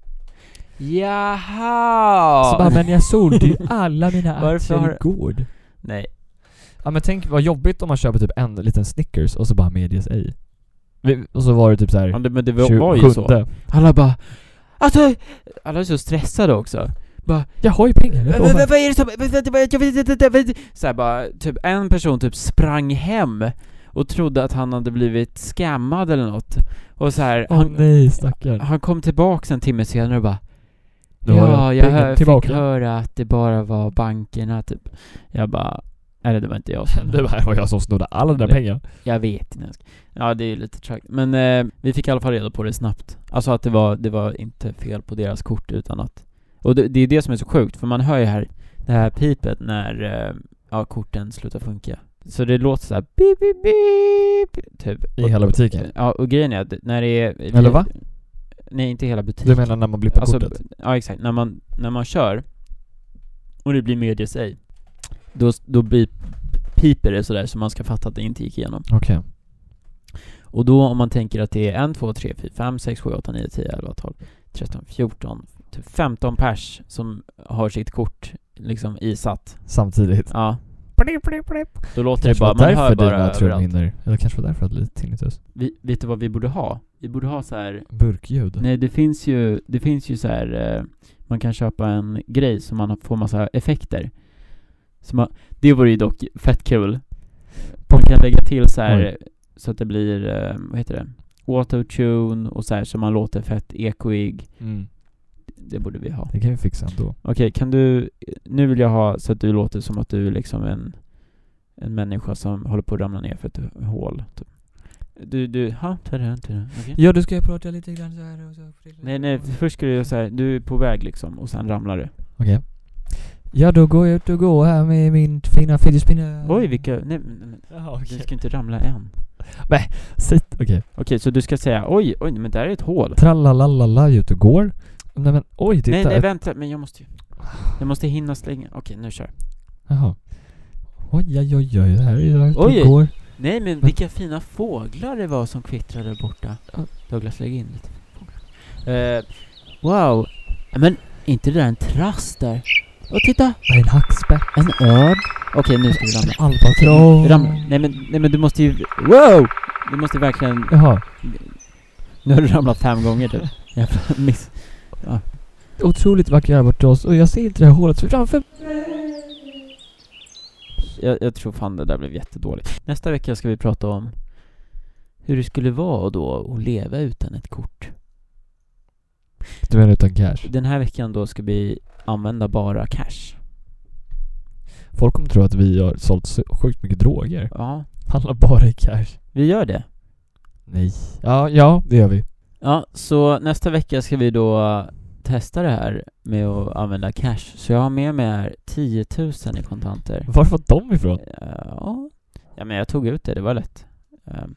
Speaker 1: Jaha!
Speaker 2: Så bara, men jag
Speaker 1: [LAUGHS]
Speaker 2: sålde ju alla mina
Speaker 1: Varför
Speaker 2: aktier
Speaker 1: har-
Speaker 2: igår.
Speaker 1: Nej,
Speaker 2: Ja men tänk vad jobbigt om man köper typ en liten Snickers och så bara medias ej. Vi- Och så var det typ
Speaker 1: ja,
Speaker 2: såhär
Speaker 1: det, men det var, var ju så. Alla bara, alltså, alla är så stressade också.
Speaker 2: Jag har ju pengar, jag
Speaker 1: Vad
Speaker 2: lovar.
Speaker 1: vad- vad är det som, vad- vad- vad- jag vet inte, jag vet inte. Så här bara, typ en person typ sprang hem och trodde att han hade blivit scammad eller något. Och så här,
Speaker 2: Åh
Speaker 1: han,
Speaker 2: nej stackarn.
Speaker 1: han kom tillbaks en timme senare och bara
Speaker 2: Nu har
Speaker 1: Ja,
Speaker 2: jag
Speaker 1: jag
Speaker 2: pengarna
Speaker 1: hör, fick
Speaker 2: tillbaka." [LAUGHS]
Speaker 1: höra att det bara var bankerna typ. Jag bara, Eller det var inte jag som...
Speaker 2: [LAUGHS] Det var jag som snodde alla dina pengar.
Speaker 1: Jag vet inte. ens. Ja, det är ju lite trakt. Men eh, vi fick i alla fall reda på det snabbt. Alltså att det var, det var inte fel på deras kort utan att... Och det, det är det som är så sjukt, för man hör ju här det här pipet när eh, ja, korten slutar funka. Så det låter så här beep, beep, beep, typ.
Speaker 2: I hela butiken.
Speaker 1: Ja, och grejen är att när det är...
Speaker 2: Eller va?
Speaker 1: Nej, inte hela butiken.
Speaker 2: Du menar när man blippar
Speaker 1: Alltså,
Speaker 2: kortet?
Speaker 1: ja exakt, när man, när man kör och det blir medie sig då, då blir, piper det sådär så man ska fatta att det inte gick igenom.
Speaker 2: Okej.
Speaker 1: Och då om man tänker att det är 1, 2, 3, 4, 5, 6, 7, 8, 9, 10, 11, 12, 13, 14, typ 15 pers som har sitt kort liksom isatt.
Speaker 2: Samtidigt.
Speaker 1: Ja,
Speaker 2: Blip, blip, blip.
Speaker 1: då låter det
Speaker 2: Kanske
Speaker 1: bara,
Speaker 2: var
Speaker 1: man hör
Speaker 2: därför
Speaker 1: bara
Speaker 2: dina
Speaker 1: överallt.
Speaker 2: trumhinnor... Eller kanske var därför jag hade lite tinnitus.
Speaker 1: Vi, vet du vad vi borde ha? Vi borde ha så här
Speaker 2: Burkljud.
Speaker 1: Nej, det finns ju, det finns ju så här eh, man kan köpa en grej som man får massa effekter. Så man, det vore ju dock fett kul. Man kan lägga till så här eh, så att det blir, eh, vad heter det, autotune och så här så man låter fett ekoig.
Speaker 2: Mm.
Speaker 1: Det borde vi ha.
Speaker 2: Det kan vi fixa ändå.
Speaker 1: Okej, kan du, eh, nu vill jag ha så att du låter som att du är liksom en, en människa som håller på att ramla ner för ett hål. Typ. Du, du, ha, tada, tada, okej.
Speaker 2: Ja, du ska jag prata lite grann så här och så.
Speaker 1: Nej nej, först ska du göra såhär, du är på väg liksom och sen ramlar du.
Speaker 2: Okej. Ja, då går jag ut och går här med min fina fidgetspinne.
Speaker 1: Oj vilka, nej men, men
Speaker 2: Jaha,
Speaker 1: du
Speaker 2: okej.
Speaker 1: ska inte ramla än.
Speaker 2: Sitt, okej.
Speaker 1: Okej så du ska säga oj, oj men där är ett hål.
Speaker 2: Trallalalala, ut och går. Nej men oj, titta.
Speaker 1: Nej nej
Speaker 2: ett-
Speaker 1: vänta, men jag måste ju, jag måste hinna slänga, okej nu kör.
Speaker 2: Jaha. Oj, oj, oj, oj, här är jag ute
Speaker 1: Oj.
Speaker 2: och går.
Speaker 1: Nej
Speaker 2: Mm.
Speaker 1: men vilka fina fåglar det var som kvittrade där borta. Douglas lägg in lite fåglar. Eh, wow, men inte det där en trass där? Åh titta,
Speaker 2: Nej, en hackspett.
Speaker 1: en örn. Okej nu ska vi ramla.
Speaker 2: En albatross.
Speaker 1: Ramla, nej men, nej men du måste ju, wow! Du måste verkligen
Speaker 2: Jaha.
Speaker 1: Nu har du ramlat fem gånger du. Jävla [LAUGHS] miss.
Speaker 2: Otroligt vacker albatross och jag ser inte det här hålet framför
Speaker 1: Jag, jag tror fan det där blev jättedåligt. Nästa vecka ska vi prata om hur det skulle vara då att leva utan ett kort.
Speaker 2: Du menar utan cash?
Speaker 1: Den här veckan då ska vi använda bara cash.
Speaker 2: Folk kommer tro att vi har sålt så sjukt mycket droger.
Speaker 1: Ja,
Speaker 2: Handlar bara i cash.
Speaker 1: vi gör det.
Speaker 2: Nej. Ja, ja, det gör vi.
Speaker 1: Ja, så nästa vecka ska vi då testa det här med att använda cash. Så jag har med mig här 10 000 i kontanter.
Speaker 2: Var var de ifrån?
Speaker 1: Ja, ja men jag tog ut det, det var lätt. Ehm,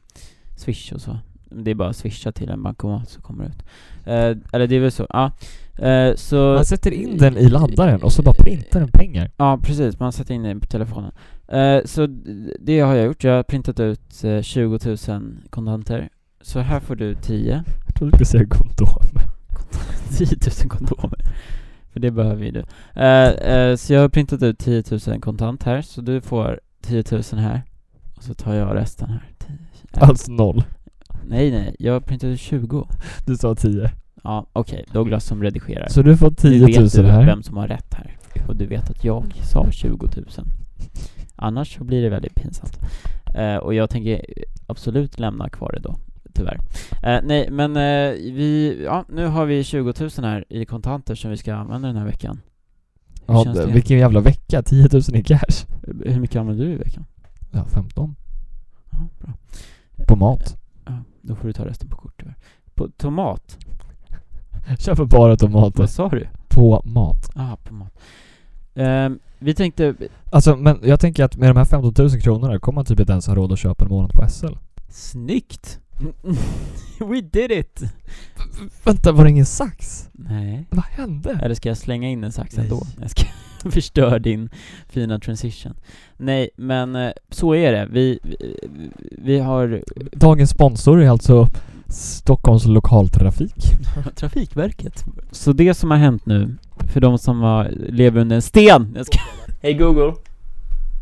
Speaker 1: swish och så. Det är bara att swisha till en bankomat så kommer det ut. Eh, eller det är väl så, ja. Eh, så,
Speaker 2: Man sätter in den i laddaren och så bara printar den pengar.
Speaker 1: ja precis, man sätter in det på telefonen. Eh, så d- det har jag gjort, jag har printat ut eh, 20 000 kontanter. Så här får du [LAUGHS] 10.
Speaker 2: Jag trodde du skulle säga kondom.
Speaker 1: 10 000 kondomer. För det behöver ju du. Eh, eh, så jag har printat ut 10 000 kontant här, så du får 10 000 här. Och så tar jag resten här. 10,
Speaker 2: Alltså noll.
Speaker 1: Nej, nej, jag printade 20.
Speaker 2: Du sa tio.
Speaker 1: Ja, okej, Douglas som redigerar.
Speaker 2: Så du får
Speaker 1: nu vet
Speaker 2: 10
Speaker 1: du
Speaker 2: 000 här.
Speaker 1: vem som har rätt här. Och du vet att jag sa 20 000. Annars så blir det väldigt pinsamt. Eh, och jag tänker absolut lämna kvar det då, tyvärr. Eh, nej, men eh, vi, ja, nu har vi 20 000 här i kontanter som vi ska använda den här veckan. Hur
Speaker 2: Ja,
Speaker 1: känns det? Eh,
Speaker 2: vilken jävla vecka. 10 000 i cash.
Speaker 1: Hur mycket använder du i veckan?
Speaker 2: Ja, 15.
Speaker 1: Ja, bra.
Speaker 2: På mat.
Speaker 1: Ja, då får du ta resten på kort tyvärr. På tomat?
Speaker 2: Köper bara tomater.
Speaker 1: Vad sa du?
Speaker 2: På mat.
Speaker 1: Ah, på mat. Ehm, vi tänkte,
Speaker 2: Alltså, men jag tänker att med de här 15 000 kronorna kommer man typ inte ens ha råd att köpa en månad på SL.
Speaker 1: Snyggt! [LAUGHS] We did it!
Speaker 2: Vänta, var det ingen sax?
Speaker 1: Nej.
Speaker 2: Vad hände?
Speaker 1: Eller ska jag slänga in en sax ändå?
Speaker 2: Nej.
Speaker 1: Jag ska [LAUGHS] förstöra din fina transition. Nej, men eh, så är det. Vi, vi, vi har
Speaker 2: Dagens sponsor är alltså Stockholms lokaltrafik.
Speaker 1: [LAUGHS] Trafikverket. Så det som har hänt nu, för de som har, lever under en sten. [LAUGHS] Jag ska... Hej Google.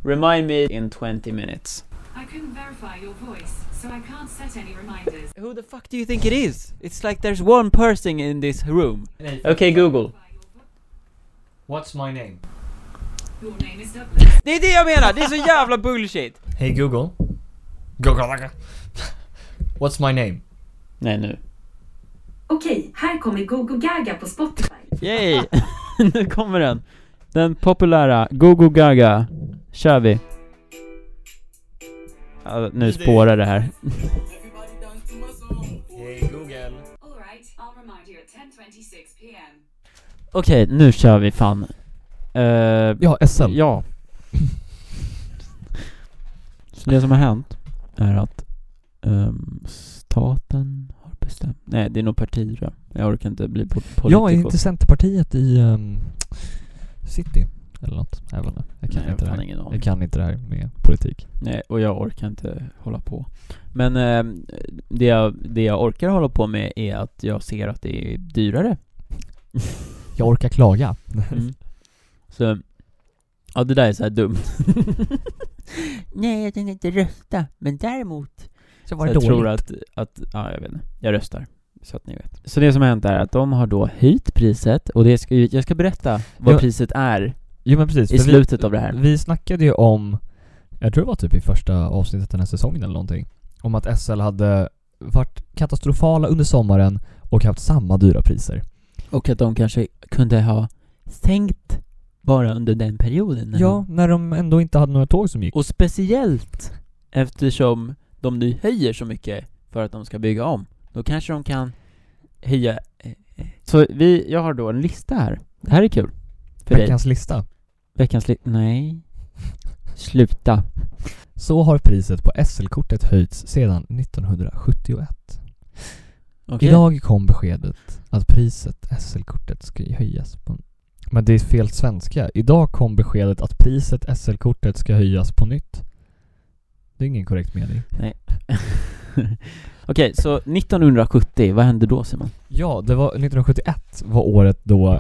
Speaker 1: Remind me in 20 minutes.
Speaker 4: I couldn't verify your voice, so I can't set any reminders.
Speaker 1: Who the fuck do you think it is? It's like there's one person in this room. Okay Google.
Speaker 4: Verify your vo-
Speaker 2: What's my name?
Speaker 4: Your name is Douglas.
Speaker 1: Det är det jag menar! Det är så jävla bullshit!
Speaker 2: Hey Google. Google. [LAUGHS] What's my name?
Speaker 1: Nej nu.
Speaker 4: Okej, här kommer Gogo Gaga på Spotify.
Speaker 1: Yay! [LAUGHS] nu kommer den! Den populära Gogo Gaga. Kör vi. Ja, nu spårar det här.
Speaker 4: Alright, I'll remind you at 10.26 pm.
Speaker 1: Okej, nu kör vi fan. Eh,
Speaker 2: Ja, SL.
Speaker 1: ja. Så det som har hänt är att ehm, staten har bestämt... Nej, det är nog partier tror jag. Jag orkar inte bli po-
Speaker 2: Ja, är
Speaker 1: politiker.
Speaker 2: inte Centerpartiet i ehm, city? Eller något? Jag vet inte. Jag kan
Speaker 1: Nej,
Speaker 2: inte det
Speaker 1: fan
Speaker 2: här.
Speaker 1: ingen aning.
Speaker 2: Jag kan inte det här med politik.
Speaker 1: Nej, och jag orkar inte hålla på. Men eh, det, jag, det jag orkar hålla på med är att jag ser att det är dyrare. [LAUGHS] Mm.
Speaker 2: Jag orkar klaga.
Speaker 1: Så, ja det där är så här dumt. [LAUGHS] Nej, jag tänker inte rösta, men däremot...
Speaker 2: Så
Speaker 1: Så jag tror att, att, ja jag vet inte. Jag röstar. Så att ni vet. Så det som har hänt är att de har då höjt priset, och det ska, ju- jag ska berätta vad
Speaker 2: Ja.
Speaker 1: priset är
Speaker 2: Jo men precis.
Speaker 1: i
Speaker 2: för vi-
Speaker 1: slutet av det här.
Speaker 2: Vi snackade ju om, jag tror det var typ i första avsnittet den här säsongen eller någonting, om att SL hade varit katastrofala under sommaren och haft samma dyra priser.
Speaker 1: Och att de kanske kunde ha sänkt bara under den perioden. när de-
Speaker 2: Ja, när de ändå inte hade några tåg som gick.
Speaker 1: Och speciellt eftersom de nu höjer så mycket för att de ska bygga om. Då kanske de kan höja... eh, eh. Så vi, jag har då en lista här. Det här är kul. För dig.
Speaker 2: Veckans lista.
Speaker 1: Veckans lista. Nej. Sluta.
Speaker 2: Så har priset på SL-kortet höjts sedan 1971.
Speaker 1: Okej.
Speaker 2: Idag kom beskedet att priset SL-kortet ska höjas på... Men det är fel svenska. Idag kom beskedet att priset SL-kortet ska höjas på nytt. Det är ingen korrekt mening.
Speaker 1: Okej, så 1970, vad hände då Simon?
Speaker 2: Ja, det var 1971 var året då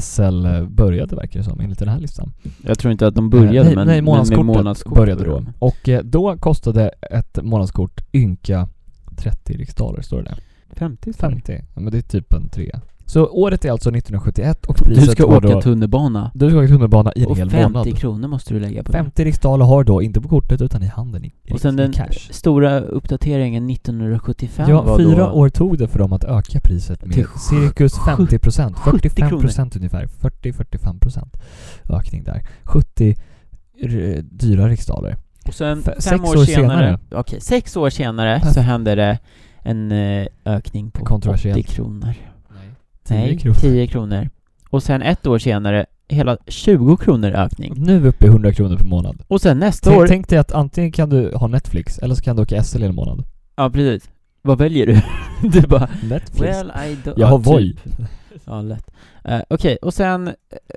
Speaker 2: SL började verkar det som, enligt den här listan.
Speaker 1: Jag tror inte att de
Speaker 2: Eh,
Speaker 1: började
Speaker 2: nej,
Speaker 1: men,
Speaker 2: nej,
Speaker 1: men
Speaker 2: månadskortet
Speaker 1: med månadskort
Speaker 2: började då.
Speaker 1: de.
Speaker 2: Och eh, då kostade ett månadskort ynka 30 riksdaler, står det där.
Speaker 1: 50 står det.
Speaker 2: 50. Ja, men det är typ en trea. Så året är alltså 1971 och
Speaker 1: Du
Speaker 2: priset
Speaker 1: ska
Speaker 2: var
Speaker 1: åka
Speaker 2: då...
Speaker 1: tunnelbana.
Speaker 2: Du ska åka tunnelbana i en
Speaker 1: Och
Speaker 2: hel
Speaker 1: 50
Speaker 2: månad.
Speaker 1: kronor måste du lägga på det.
Speaker 2: 50 riksdaler har då, inte på kortet utan i handen i, i,
Speaker 1: Och sen
Speaker 2: i
Speaker 1: den
Speaker 2: cash.
Speaker 1: stora uppdateringen 1975
Speaker 2: Ja,
Speaker 1: var
Speaker 2: fyra
Speaker 1: då...
Speaker 2: år tog det för dem att öka priset med
Speaker 1: Till
Speaker 2: cirkus 50 procent, 45
Speaker 1: kronor.
Speaker 2: procent ungefär, 40-45 procent ökning där. 70 r- dyra riksdaler.
Speaker 1: Och sen
Speaker 2: Fe-
Speaker 1: fem
Speaker 2: sex
Speaker 1: år,
Speaker 2: år
Speaker 1: senare,
Speaker 2: senare.
Speaker 1: okej, sex år senare så hände det en eh, ökning på
Speaker 2: Kontroversiellt.
Speaker 1: 80 kronor.
Speaker 2: Nej. 10
Speaker 1: Nej,
Speaker 2: kronor.
Speaker 1: 10 kronor. Och sen ett år senare, hela 20 kronor ökning.
Speaker 2: Nu uppe i 100 kronor per månad.
Speaker 1: Och sen nästa
Speaker 2: Tänk,
Speaker 1: år...
Speaker 2: tänk dig att antingen kan du ha Netflix eller så kan du åka SL i en månad.
Speaker 1: Ja, precis. Vad väljer du? [LAUGHS] du bara...
Speaker 2: Netflix?
Speaker 1: Well, I do,
Speaker 2: jag har Voi.
Speaker 1: typ. Ja, lätt. Eh, Okej, och sen eh,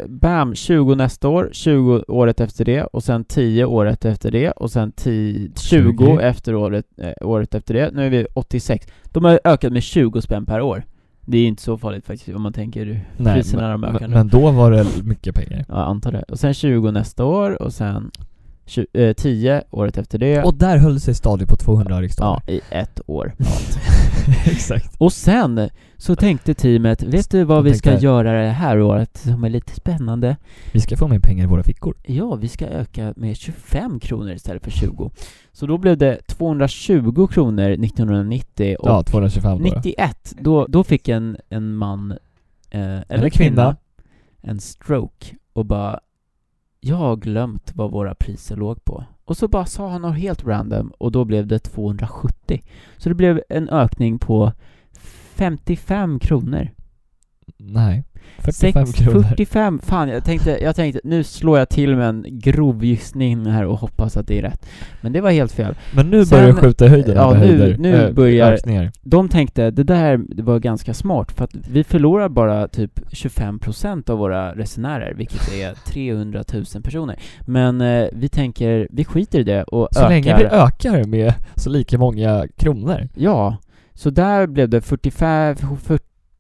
Speaker 1: bam, 20 nästa år, 20 året efter det och sen 10 året efter det och sen 10, 20,
Speaker 2: 20.
Speaker 1: efter året, eh, året efter det. Nu är vi 86. De har ökat med 20 spänn per år. Det är ju inte så farligt faktiskt om man tänker hur
Speaker 2: Nej,
Speaker 1: priserna de
Speaker 2: men,
Speaker 1: ökar
Speaker 2: men,
Speaker 1: nu.
Speaker 2: men då var det mycket pengar.
Speaker 1: Ja, jag antar det. Och sen 20 nästa år och sen 20, eh, 10 året efter det.
Speaker 2: Och där höll det sig stadigt på 200
Speaker 1: ja,
Speaker 2: riksdaler.
Speaker 1: i ett år. [LAUGHS]
Speaker 2: exakt.
Speaker 1: Och sen så tänkte teamet, vet du vad
Speaker 2: De
Speaker 1: vi ska
Speaker 2: tänkte-
Speaker 1: göra det här året som är lite spännande?
Speaker 2: Vi ska få mer pengar i våra fickor.
Speaker 1: Ja, vi ska öka med 25 kronor istället för 20. Så då blev det 220 kronor 1990 och
Speaker 2: Ja, 225 då.
Speaker 1: 91, då, då fick en, en man, eh, eller,
Speaker 2: Eller
Speaker 1: kvinna,
Speaker 2: kvinna.
Speaker 1: en stroke och bara Jag har glömt vad våra priser låg på. Och så bara sa han något helt random och då blev det 270. Så det blev en ökning på 55 kronor.
Speaker 2: Nej. 45
Speaker 1: 45
Speaker 2: kronor.
Speaker 1: 45, fan jag tänkte, jag tänkte, nu slår jag till med en grov gissning här och hoppas att det är rätt. Men det var helt fel.
Speaker 2: Men nu
Speaker 1: Sen-
Speaker 2: börjar det skjuta i höjden.
Speaker 1: ja,
Speaker 2: eller
Speaker 1: nu-
Speaker 2: höjder,
Speaker 1: nu
Speaker 2: eh,
Speaker 1: börjar-
Speaker 2: ökningar.
Speaker 1: De tänkte, det där var ganska smart för att vi förlorar bara typ 25% av våra resenärer, vilket är 300 000 personer. Men eh, vi tänker, vi skiter i det och
Speaker 2: Så
Speaker 1: ökar.
Speaker 2: länge vi ökar med så lika många kronor.
Speaker 1: Ja, så där blev det 45,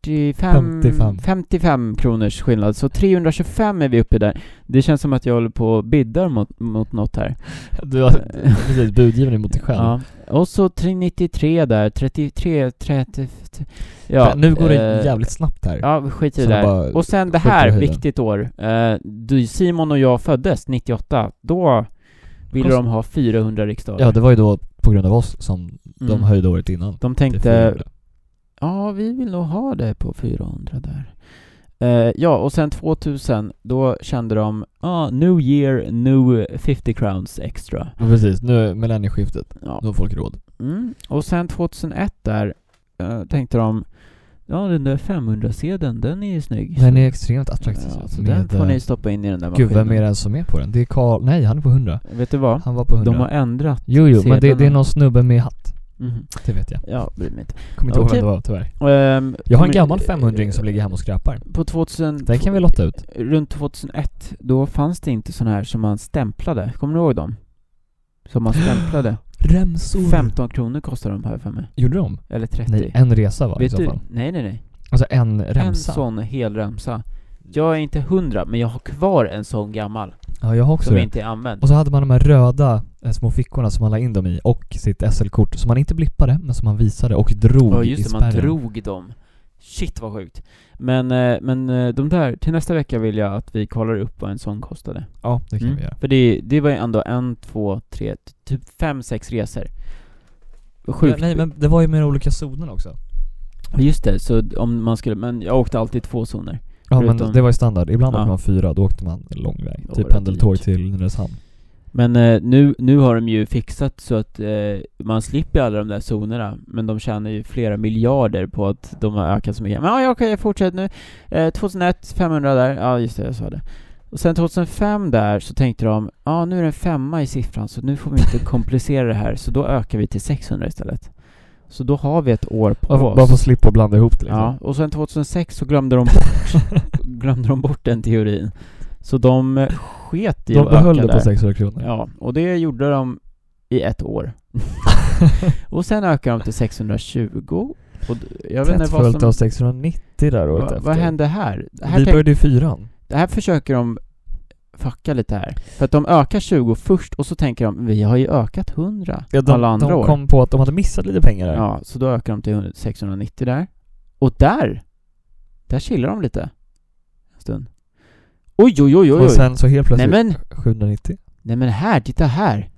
Speaker 1: 45 55.
Speaker 2: 55.
Speaker 1: kronors skillnad, så 325 är vi uppe där. Det känns som att jag håller på och biddar mot, mot något här.
Speaker 2: Du har
Speaker 1: [LAUGHS]
Speaker 2: precis budgivning mot dig själv.
Speaker 1: Ja. Och så 393 där, 33, 30... Ja,
Speaker 2: Fan, nu går det
Speaker 1: eh,
Speaker 2: jävligt snabbt här.
Speaker 1: Ja, skit i det
Speaker 2: Så jag
Speaker 1: där.
Speaker 2: bara
Speaker 1: Och sen det
Speaker 2: skjuter i
Speaker 1: här,
Speaker 2: höjden.
Speaker 1: viktigt år. Eh, du, Simon och jag föddes 98, då ville
Speaker 2: Kost-
Speaker 1: de ha 400 riksdaler.
Speaker 2: Ja, det var ju då på grund av oss som de
Speaker 1: Mm.
Speaker 2: höjde året innan.
Speaker 1: De
Speaker 2: till
Speaker 1: tänkte,
Speaker 2: 400.
Speaker 1: Ja, vi vill nog ha det på 400 där. Eh, ja, och sen 2000, då kände de ah, New year, new 50 crowns extra.
Speaker 2: Ja, precis, nu är millennieskiftet.
Speaker 1: Ja.
Speaker 2: Nu har folk råd.
Speaker 1: Mm. Och sen 2001 där eh, tänkte de Ja, den där 500-sedeln, den är ju snygg.
Speaker 2: Den är extremt attraktiv. eh,
Speaker 1: ja, så den får ni stoppa in i den där
Speaker 2: Gud, vem är
Speaker 1: maskinen.
Speaker 2: det som är på den? Det är Karl... Nej, han är på 100.
Speaker 1: Vet du vad?
Speaker 2: Han var på 100.
Speaker 1: De har ändrat.
Speaker 2: Jo, jo, men det, det är
Speaker 1: sedlarna.
Speaker 2: någon snubbe med hatt.
Speaker 1: Mhm.
Speaker 2: Det vet jag.
Speaker 1: Ja, bryr mig inte.
Speaker 2: Kommer inte ihåg
Speaker 1: Okej.
Speaker 2: vem det var, tyvärr.
Speaker 1: Ehm,
Speaker 2: Jag har en
Speaker 1: men-
Speaker 2: gammal 500 som ligger hemma och skräpar.
Speaker 1: På 2000...
Speaker 2: Den kan vi lotta ut.
Speaker 1: Runt 2001, då fanns det inte såna här som man stämplade. Kommer du ihåg dem? Som
Speaker 2: [GASPS]
Speaker 1: man stämplade.
Speaker 2: Remsor!
Speaker 1: 15 kronor kostar de här för mig.
Speaker 2: Gjorde de?
Speaker 1: Eller 30.
Speaker 2: Nej, en resa var i
Speaker 1: Vet
Speaker 2: så
Speaker 1: du?
Speaker 2: fall.
Speaker 1: Nej, nej, nej.
Speaker 2: Alltså en remsa.
Speaker 1: En sån hel remsa. Jag är inte hundra, men jag har kvar en sån gammal.
Speaker 2: Ja, jag har också
Speaker 1: som
Speaker 2: det.
Speaker 1: inte är använd.
Speaker 2: Och så hade man de här röda eh, små fickorna som man la in dem i och sitt SL-kort som man inte blippade men som man visade och drog
Speaker 1: Ja,
Speaker 2: i
Speaker 1: just det,
Speaker 2: spärren.
Speaker 1: man drog dem. Shit vad sjukt. Men, eh, men eh, de där, till nästa vecka vill jag att vi kollar upp vad en sån kostade.
Speaker 2: Ja, det kan
Speaker 1: Mm.
Speaker 2: vi göra.
Speaker 1: För det, det var ju ändå en, två, tre, t- typ fem, sex resor. Sjukt.
Speaker 2: Ja, nej, men det var ju med de olika zonerna också.
Speaker 1: Ja, Just det, så d- om man skulle, men jag åkte alltid två zoner.
Speaker 2: Ja, men
Speaker 1: Förutom-
Speaker 2: det var ju standard. Ibland
Speaker 1: Ja.
Speaker 2: åkte man fyra, då åkte man lång väg.
Speaker 1: Då var
Speaker 2: typ
Speaker 1: det
Speaker 2: pendeltåg
Speaker 1: dyrt.
Speaker 2: till Nynäshamn.
Speaker 1: Men eh, nu, nu har de ju fixat så att eh, man slipper alla de där zonerna, men de tjänar ju flera miljarder på att de har ökat så mycket. Men ja, ja, okej, fortsätt nu. Eh, 2001, 500 där. Ja, just det, jag sa det. Och sen 2005 där så tänkte de, ja ah, nu är det en femma i siffran så nu får vi
Speaker 2: [LAUGHS]
Speaker 1: inte komplicera det här, så då ökar vi till 600 istället. Så då har vi ett år på
Speaker 2: Bara
Speaker 1: oss.
Speaker 2: för- bara för att slippa blanda ihop det liksom. [LAUGHS]
Speaker 1: Ja, och sen 2006 så glömde de bort, glömde de bort den teorin. Så de eh, sket i
Speaker 2: De
Speaker 1: att öka
Speaker 2: behöll det
Speaker 1: där.
Speaker 2: på 600 kronor.
Speaker 1: Ja, och det gjorde de i ett
Speaker 2: [LAUGHS]
Speaker 1: år. och sen ökade de till 620. Och d- jag vet
Speaker 2: Tätt
Speaker 1: inte vad
Speaker 2: följt av
Speaker 1: som...
Speaker 2: 690 där året
Speaker 1: Va,
Speaker 2: efter.
Speaker 1: vad hände här? Det här,
Speaker 2: Vi
Speaker 1: tänk,
Speaker 2: började i fyran.
Speaker 1: det här försöker de fucka lite här. För att de ökar 20 först och så tänker de vi har ju ökat 100
Speaker 2: Ja, de,
Speaker 1: alla andra
Speaker 2: de
Speaker 1: år.
Speaker 2: kom på att de hade missat lite pengar där.
Speaker 1: Ja, så då ökar de till 100 690 där. Och där, där chillar de lite. En stund. Oj, oj, oj, oj,
Speaker 2: och
Speaker 1: oj.
Speaker 2: sen så helt
Speaker 1: Nej
Speaker 2: plötsligt
Speaker 1: men,
Speaker 2: 790.
Speaker 1: nej men här, titta här.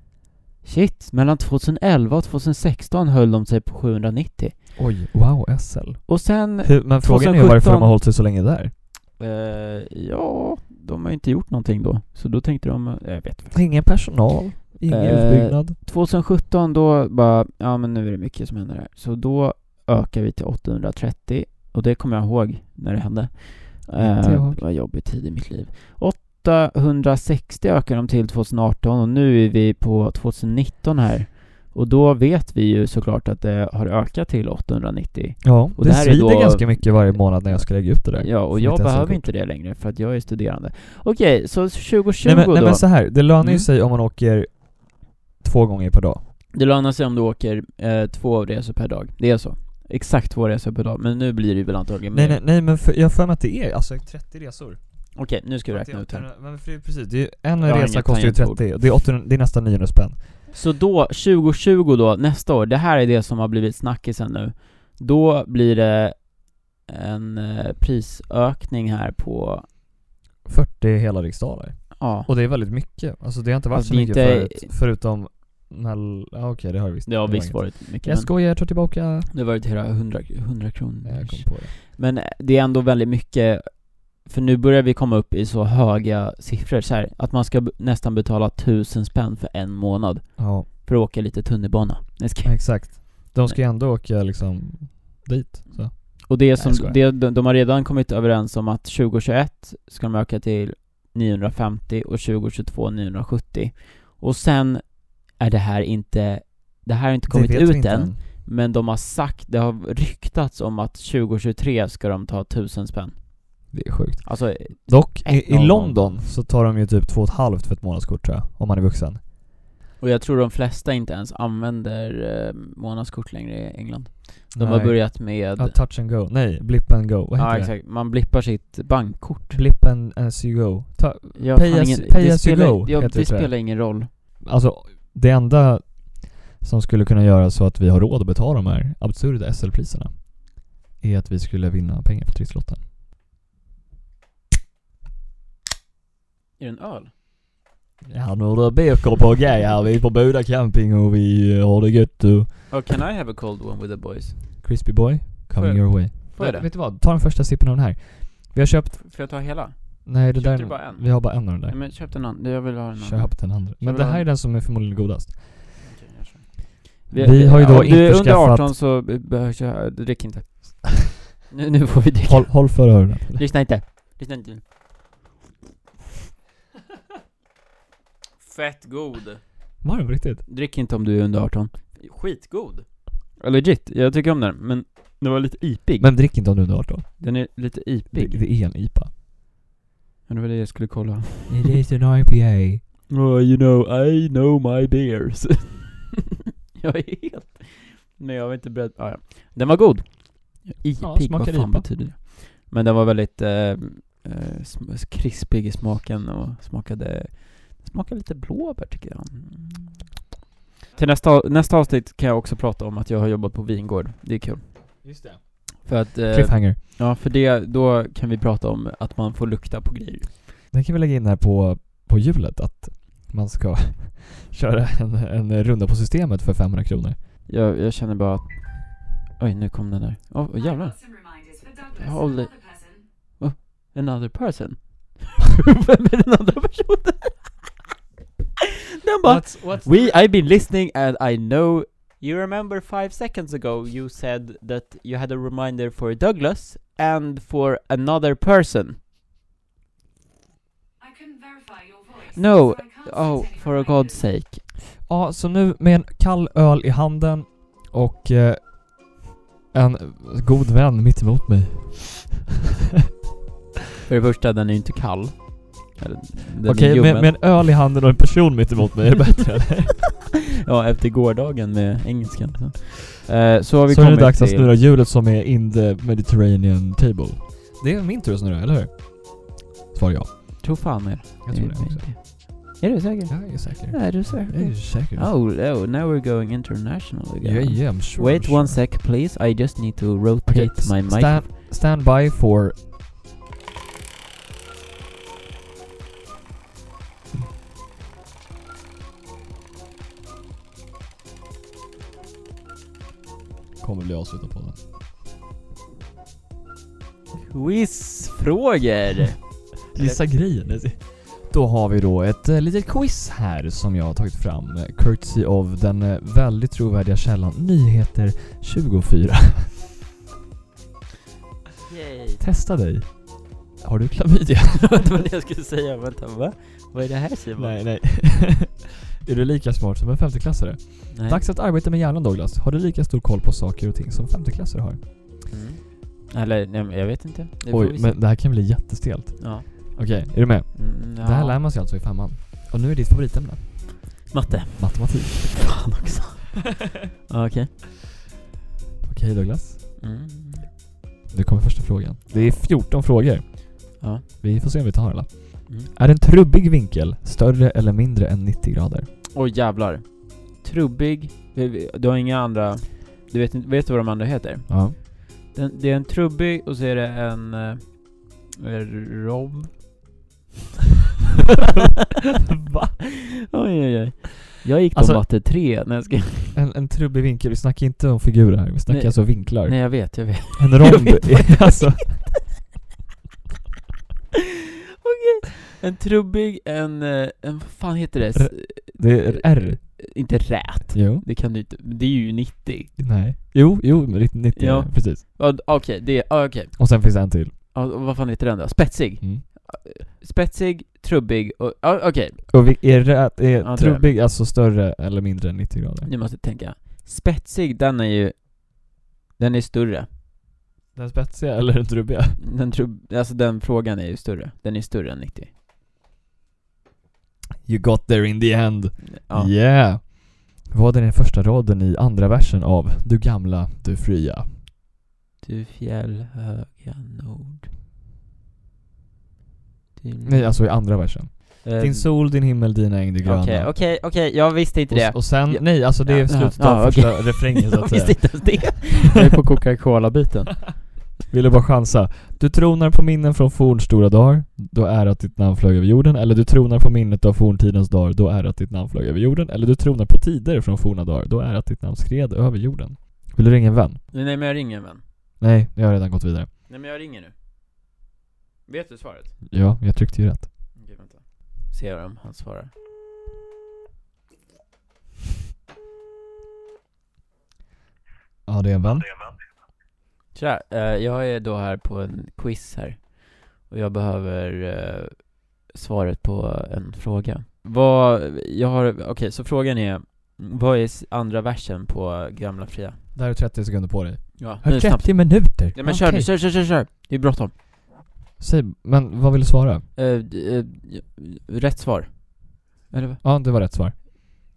Speaker 1: Shit, mellan 2011 och 2016 höll de sig på 790.
Speaker 2: Oj, wow SL.
Speaker 1: Och sen,
Speaker 2: Hur, men frågan är ju varför de
Speaker 1: 2017
Speaker 2: har hållit sig så länge där.
Speaker 1: eh, ja, de har ju inte gjort någonting då. Så då tänkte de, eh, jag vet inte.
Speaker 2: Ingen personal, ingen
Speaker 1: Eh,
Speaker 2: utbyggnad.
Speaker 1: 2017 då bara, ja men nu är det mycket som händer här. Så då ökar vi till 830 och det kommer jag ihåg när det hände.
Speaker 2: Inte
Speaker 1: Eh,
Speaker 2: jag.
Speaker 1: det var en jobbig tid i mitt liv. 860 ökar de till 2018 och nu är vi på 2019 här. Och då vet vi ju såklart att det har ökat till 890.
Speaker 2: Ja,
Speaker 1: och
Speaker 2: det,
Speaker 1: det här är
Speaker 2: svider
Speaker 1: då-
Speaker 2: ganska mycket varje månad när jag ska lägga ut det där.
Speaker 1: Ja, och
Speaker 2: Som
Speaker 1: jag
Speaker 2: mitt
Speaker 1: behöver
Speaker 2: SL-kort.
Speaker 1: inte det längre för att jag är studerande. Okej, så 2020
Speaker 2: Nej men,
Speaker 1: då?
Speaker 2: nej, men så här, det lönar ju
Speaker 1: Mm.
Speaker 2: sig om man åker två gånger per dag.
Speaker 1: Det lönar sig om du åker eh, två resor per dag. Det är så. Exakt två resor per dag. Men nu blir det väl antagligen
Speaker 2: Nej
Speaker 1: mer.
Speaker 2: nej, nej men för, jag har för mig att det är alltså 30 resor.
Speaker 1: Okej, nu ska vi räkna ut här.
Speaker 2: Men för det är precis, det är ju, en
Speaker 1: Jag har
Speaker 2: resa
Speaker 1: inget
Speaker 2: kostar ju
Speaker 1: tangentbord.
Speaker 2: 30, och det är, 800, det är nästan 900 spänn.
Speaker 1: Så då, 2020 då, nästa år, det här är det som har blivit snackisen nu. Då blir det en eh, prisökning här på,
Speaker 2: 40 hela riksdaler.
Speaker 1: ja,
Speaker 2: Och det är väldigt mycket. Alltså det har inte varit
Speaker 1: Alltså,
Speaker 2: så
Speaker 1: det är
Speaker 2: mycket
Speaker 1: inte-
Speaker 2: förut, förutom... Mell... Ja okej, det har det visst.
Speaker 1: det har
Speaker 2: var
Speaker 1: visst
Speaker 2: inget.
Speaker 1: varit mycket.
Speaker 2: Jag
Speaker 1: Men
Speaker 2: skojar, jag tar tillbaka...
Speaker 1: det har varit hela 100, 100 kronor.
Speaker 2: Nej, jag kom på det.
Speaker 1: Men eh, det är ändå väldigt mycket För nu börjar vi komma upp i så höga siffror så här, Att man ska b- nästan betala tusen spänn för en månad
Speaker 2: Ja,
Speaker 1: För att åka lite tunnelbana Nej, ska-
Speaker 2: exakt. De ska ju ändå åka liksom dit. Så.
Speaker 1: Och det är
Speaker 2: jag
Speaker 1: som,
Speaker 2: skojar.
Speaker 1: det, de de har redan kommit överens om att 2021 ska de öka till 950 och 2022 970 Och sen är det här inte Det här har inte kommit
Speaker 2: Det vet vi
Speaker 1: ut
Speaker 2: inte
Speaker 1: än Men de har sagt, det har ryktats om att 2023 ska de ta tusen spänn
Speaker 2: Det är sjukt.
Speaker 1: Alltså,
Speaker 2: Dock, i, i
Speaker 1: 1-0.
Speaker 2: London så tar de ju typ två och ett halvt för ett månadskort tror jag, om man är vuxen.
Speaker 1: Och jag tror de flesta inte ens använder eh, månadskort längre i England. De har
Speaker 2: Nej.
Speaker 1: börjat med...
Speaker 2: Ja, touch and go. Nej, blip and go. Vad heter
Speaker 1: ja,
Speaker 2: det?
Speaker 1: exakt. Man blippar sitt bankkort.
Speaker 2: Blip and as you go. Ta,
Speaker 1: Jag har
Speaker 2: Pay
Speaker 1: fan
Speaker 2: as- pay
Speaker 1: det
Speaker 2: as you
Speaker 1: spelar,
Speaker 2: go,
Speaker 1: ja,
Speaker 2: heter
Speaker 1: det
Speaker 2: det, tror jag.
Speaker 1: spelar ingen roll.
Speaker 2: alltså, det enda som skulle kunna göra så att vi har råd att betala de här absurda SL-priserna är att vi skulle vinna pengar på trisslotten.
Speaker 1: Är det en öl?
Speaker 2: Ja, nu är det BK på G här. Vi är på Boda camping och vi eh, har det gött du.
Speaker 1: Oh, can I have a cold one with the boys?
Speaker 2: Crispy boy, coming
Speaker 1: Får jag-
Speaker 2: your way.
Speaker 1: Får jag det?
Speaker 2: Vet du vad? Ta den första sippen av den här. Vi har köpt...
Speaker 1: Får jag ta hela?
Speaker 2: Nej, det
Speaker 1: Köpte
Speaker 2: där...
Speaker 1: du bara en?
Speaker 2: Vi har bara en av den
Speaker 1: Nej
Speaker 2: där.
Speaker 1: men köp den andra, jag vill ha den andra.
Speaker 2: Köp den andra. Men
Speaker 1: vill
Speaker 2: det
Speaker 1: ha
Speaker 2: här är
Speaker 1: en.
Speaker 2: den som är förmodligen godast.
Speaker 1: Okej, jag kör.
Speaker 2: Vi har ju då
Speaker 1: Om du är under
Speaker 2: införskaffat-
Speaker 1: 18 så eh, behöver jag, drick
Speaker 2: [LAUGHS]
Speaker 1: inte. Nu, nu får vi dricka.
Speaker 2: Håll, håll för
Speaker 1: [LAUGHS]
Speaker 2: öronen.
Speaker 1: Lyssna inte. Lyssna inte. Fett god.
Speaker 2: Var den på riktigt?
Speaker 1: Drick inte om du är under 18. Skitgod. Legit, jag tycker om den, men den var lite ipig.
Speaker 2: Men drick inte om du är under 18.
Speaker 1: den är lite
Speaker 2: Det,
Speaker 1: ipig.
Speaker 2: det är en IPA.
Speaker 1: Men det var det jag skulle kolla.
Speaker 2: It is an IPA.
Speaker 1: Oh, you know, I know my beers. [LAUGHS] jag är helt... Men jag var inte beredd. Ah, ja. Den var god. Ipig, vad
Speaker 2: smakar
Speaker 1: fan
Speaker 2: IPA.
Speaker 1: betyder det? Men den var väldigt eh, eh, sm- krispig i smaken och smakade... Smakade lite blåbär tycker jag. Mm. Till nästa, nästa avsnitt kan jag också prata om att jag har jobbat på vingård. Det är kul.
Speaker 2: Just det.
Speaker 1: För att... Eh,
Speaker 2: Cliffhanger.
Speaker 1: ja, för det, då kan vi prata om att man får lukta på grejer.
Speaker 2: Den kan vi lägga in här på, på hjulet att man ska [LAUGHS] köra en, en runda på systemet för 500 kronor.
Speaker 1: Jag, jag känner bara att... Oj, nu kom den där. Åh, oh, jävlar. Håll dig. Another
Speaker 2: [LAUGHS]
Speaker 1: person? Vem är den andra personen? den bara We, I've been listening and I know You remember five seconds ago you said that you had a reminder for Douglas and for another person
Speaker 4: I couldn't verify your voice.
Speaker 1: No,
Speaker 4: so I can't
Speaker 1: oh,
Speaker 4: set any
Speaker 1: for
Speaker 4: reminders.
Speaker 1: God's sake
Speaker 2: Ja, så nu med en kall öl i handen och eh, en god vän mitt emot mig.
Speaker 1: För det första, den är ju inte kall Eller, den är
Speaker 2: Okej, med,
Speaker 1: ljummen.
Speaker 2: med en öl i handen och en person mitt
Speaker 1: [LAUGHS]
Speaker 2: emot mig är det bättre eller?
Speaker 1: Ja, efter gårdagen med engelskan så. Eh, så har vi
Speaker 2: Så är det
Speaker 1: kommit
Speaker 2: dags att
Speaker 1: till-
Speaker 2: snurra hjulet som är in the Mediterranean table. Det är min tur att snurra, eller hur? Svar ja.
Speaker 1: Tro fan er
Speaker 2: Jag tror det också.
Speaker 1: Är du säker?
Speaker 2: Jag är säker.
Speaker 1: Är du
Speaker 2: Jag är
Speaker 1: säker?
Speaker 2: säker.
Speaker 1: Oh, oh, now we're going international again.
Speaker 2: Yeah, yeah, I'm sure.
Speaker 1: Wait
Speaker 2: I'm sure.
Speaker 1: one sec, please. I just need to
Speaker 2: Okay,
Speaker 1: rotate
Speaker 2: s-
Speaker 1: my mic.
Speaker 2: Stand, stand by for... Kommer bli avslutad på den.
Speaker 1: Quizfrågor!
Speaker 2: [LAUGHS] Gissa grejen. Då har vi då ett eh, litet quiz här som jag har tagit fram. eh, Courtesy of den eh, väldigt trovärdiga källan Nyheter24.
Speaker 1: Yay.
Speaker 2: [LAUGHS] Testa dig. Har du klamydia?
Speaker 1: det var det jag skulle säga, vänta va? Vad är det här Simon?
Speaker 2: Nej, [LAUGHS] nej. är du lika smart som en femteklassare?
Speaker 1: Nej.
Speaker 2: Dags att arbeta med hjärnan Douglas. Har du lika stor koll på saker och ting som femteklassare har?
Speaker 1: Mm. Eller, nej, men jag vet inte. Det får vi
Speaker 2: Oj,
Speaker 1: se.
Speaker 2: men det här kan bli jättestelt.
Speaker 1: Ja.
Speaker 2: Okej, är du med?
Speaker 1: Mm, ja.
Speaker 2: Det här lär man sig alltså i femman. Och nu är ditt favoritämne.
Speaker 1: Matte.
Speaker 2: Matematik.
Speaker 1: Fan också. Ja, Okej.
Speaker 2: Okej Douglas.
Speaker 1: Mm.
Speaker 2: Nu kommer första frågan. Det är 14 frågor.
Speaker 1: Ja.
Speaker 2: Vi får se om vi tar alla.
Speaker 1: Mm.
Speaker 2: Är en trubbig vinkel större eller mindre än 90 grader?
Speaker 1: Oj jävlar. Trubbig. Vi- vi- Du har inga andra... Du vet, inte- vet du vad de andra heter?
Speaker 2: Ja.
Speaker 1: Den, det är en trubbig och så är det en... Eh, en rob. [LAUGHS] Va? Oj oj oj. Jag gick på
Speaker 2: Alltså-
Speaker 1: matte 3 när jag ska...
Speaker 2: En, en trubbig vinkel, vi snackar inte om figurer här. Vi snackar
Speaker 1: Nej.
Speaker 2: alltså vinklar.
Speaker 1: Nej jag vet, jag vet. [LAUGHS]
Speaker 2: [LAUGHS] En romb
Speaker 1: vet
Speaker 2: är alltså...
Speaker 1: En trubbig, en... eh, en vad fan heter det? S- eh,
Speaker 2: R- Det [LAUGHS] är R.
Speaker 1: inte rät.
Speaker 2: Jo.
Speaker 1: Det kan du inte... Det är ju 90.
Speaker 2: Nej. Jo, jo, men rikt- 90
Speaker 1: Ja.
Speaker 2: precis.
Speaker 1: Ja, d- Okej, det är... ja, Okej.
Speaker 2: Och sen finns det en till.
Speaker 1: Ja, och vad fan heter den då? Spetsig. Eh,
Speaker 2: Mm.
Speaker 1: Spetsig, trubbig och... ja, Okej,
Speaker 2: Och vi, är, rät, är
Speaker 1: det är
Speaker 2: trubbig alltså större eller mindre än 90 grader?
Speaker 1: nu måste jag tänka. Spetsig, den är ju... Den är större.
Speaker 2: Den spetsiga eller den trubbiga?
Speaker 1: Den trubb... Alltså den frågan är ju större. Den är större än 90.
Speaker 2: You got there in the end.
Speaker 1: Ja.
Speaker 2: Yeah. Vad är den första raden i andra versen av Du gamla, du fria?
Speaker 1: Du fjällhöga nord. Du...
Speaker 2: Nej, alltså i andra versen.
Speaker 1: Eh,
Speaker 2: Din sol, din himmel, dina äng, det gröna.
Speaker 1: Okej, okej, okej, jag visste inte det. [LAUGHS]
Speaker 2: Och, och sen,
Speaker 1: Ja.
Speaker 2: nej alltså det är
Speaker 1: Ja.
Speaker 2: slutet
Speaker 1: Ja,
Speaker 2: av
Speaker 1: okej.
Speaker 2: första refrängen
Speaker 1: [LAUGHS]
Speaker 2: så
Speaker 1: jag
Speaker 2: att säga.
Speaker 1: visste inte ens
Speaker 2: [LAUGHS]
Speaker 1: det. jag är på Coca-Cola-biten.
Speaker 2: Ville bara chansa. Du tronar på minnen från fornstora dagar, då är att ditt namn flög över jorden. Eller du tronar på minnet av forntidens dagar, då är att ditt namn flög över jorden. Eller du tronar på tider från forna dagar, då är att ditt namn skred över jorden. Vill du ringa en vän?
Speaker 1: Nej men jag ringer en vän.
Speaker 2: Nej, jag har redan gått vidare.
Speaker 1: Nej men jag ringer nu. Vet du svaret?
Speaker 2: Ja, jag tryckte ju rätt.
Speaker 1: Okej, vänta. Ser om han svarar.
Speaker 2: Ja, det är en vän.
Speaker 1: Tja, eh, jag är då här på en quiz här. Och jag behöver eh, svaret på en fråga. Vad, jag har, okej så frågan är, vad är s- andra versen på Gamla Fria?
Speaker 2: Där har du 30 sekunder på dig.
Speaker 1: Ja,
Speaker 2: Har 30 minuter?
Speaker 1: Ja men kör nu,
Speaker 2: Okej.
Speaker 1: kör, kör, kör, kör! Det är bråttom.
Speaker 2: Säg, men vad vill du svara?
Speaker 1: Eh, d- eh, j- rätt svar. Eller vad?
Speaker 2: Ja, det var rätt svar.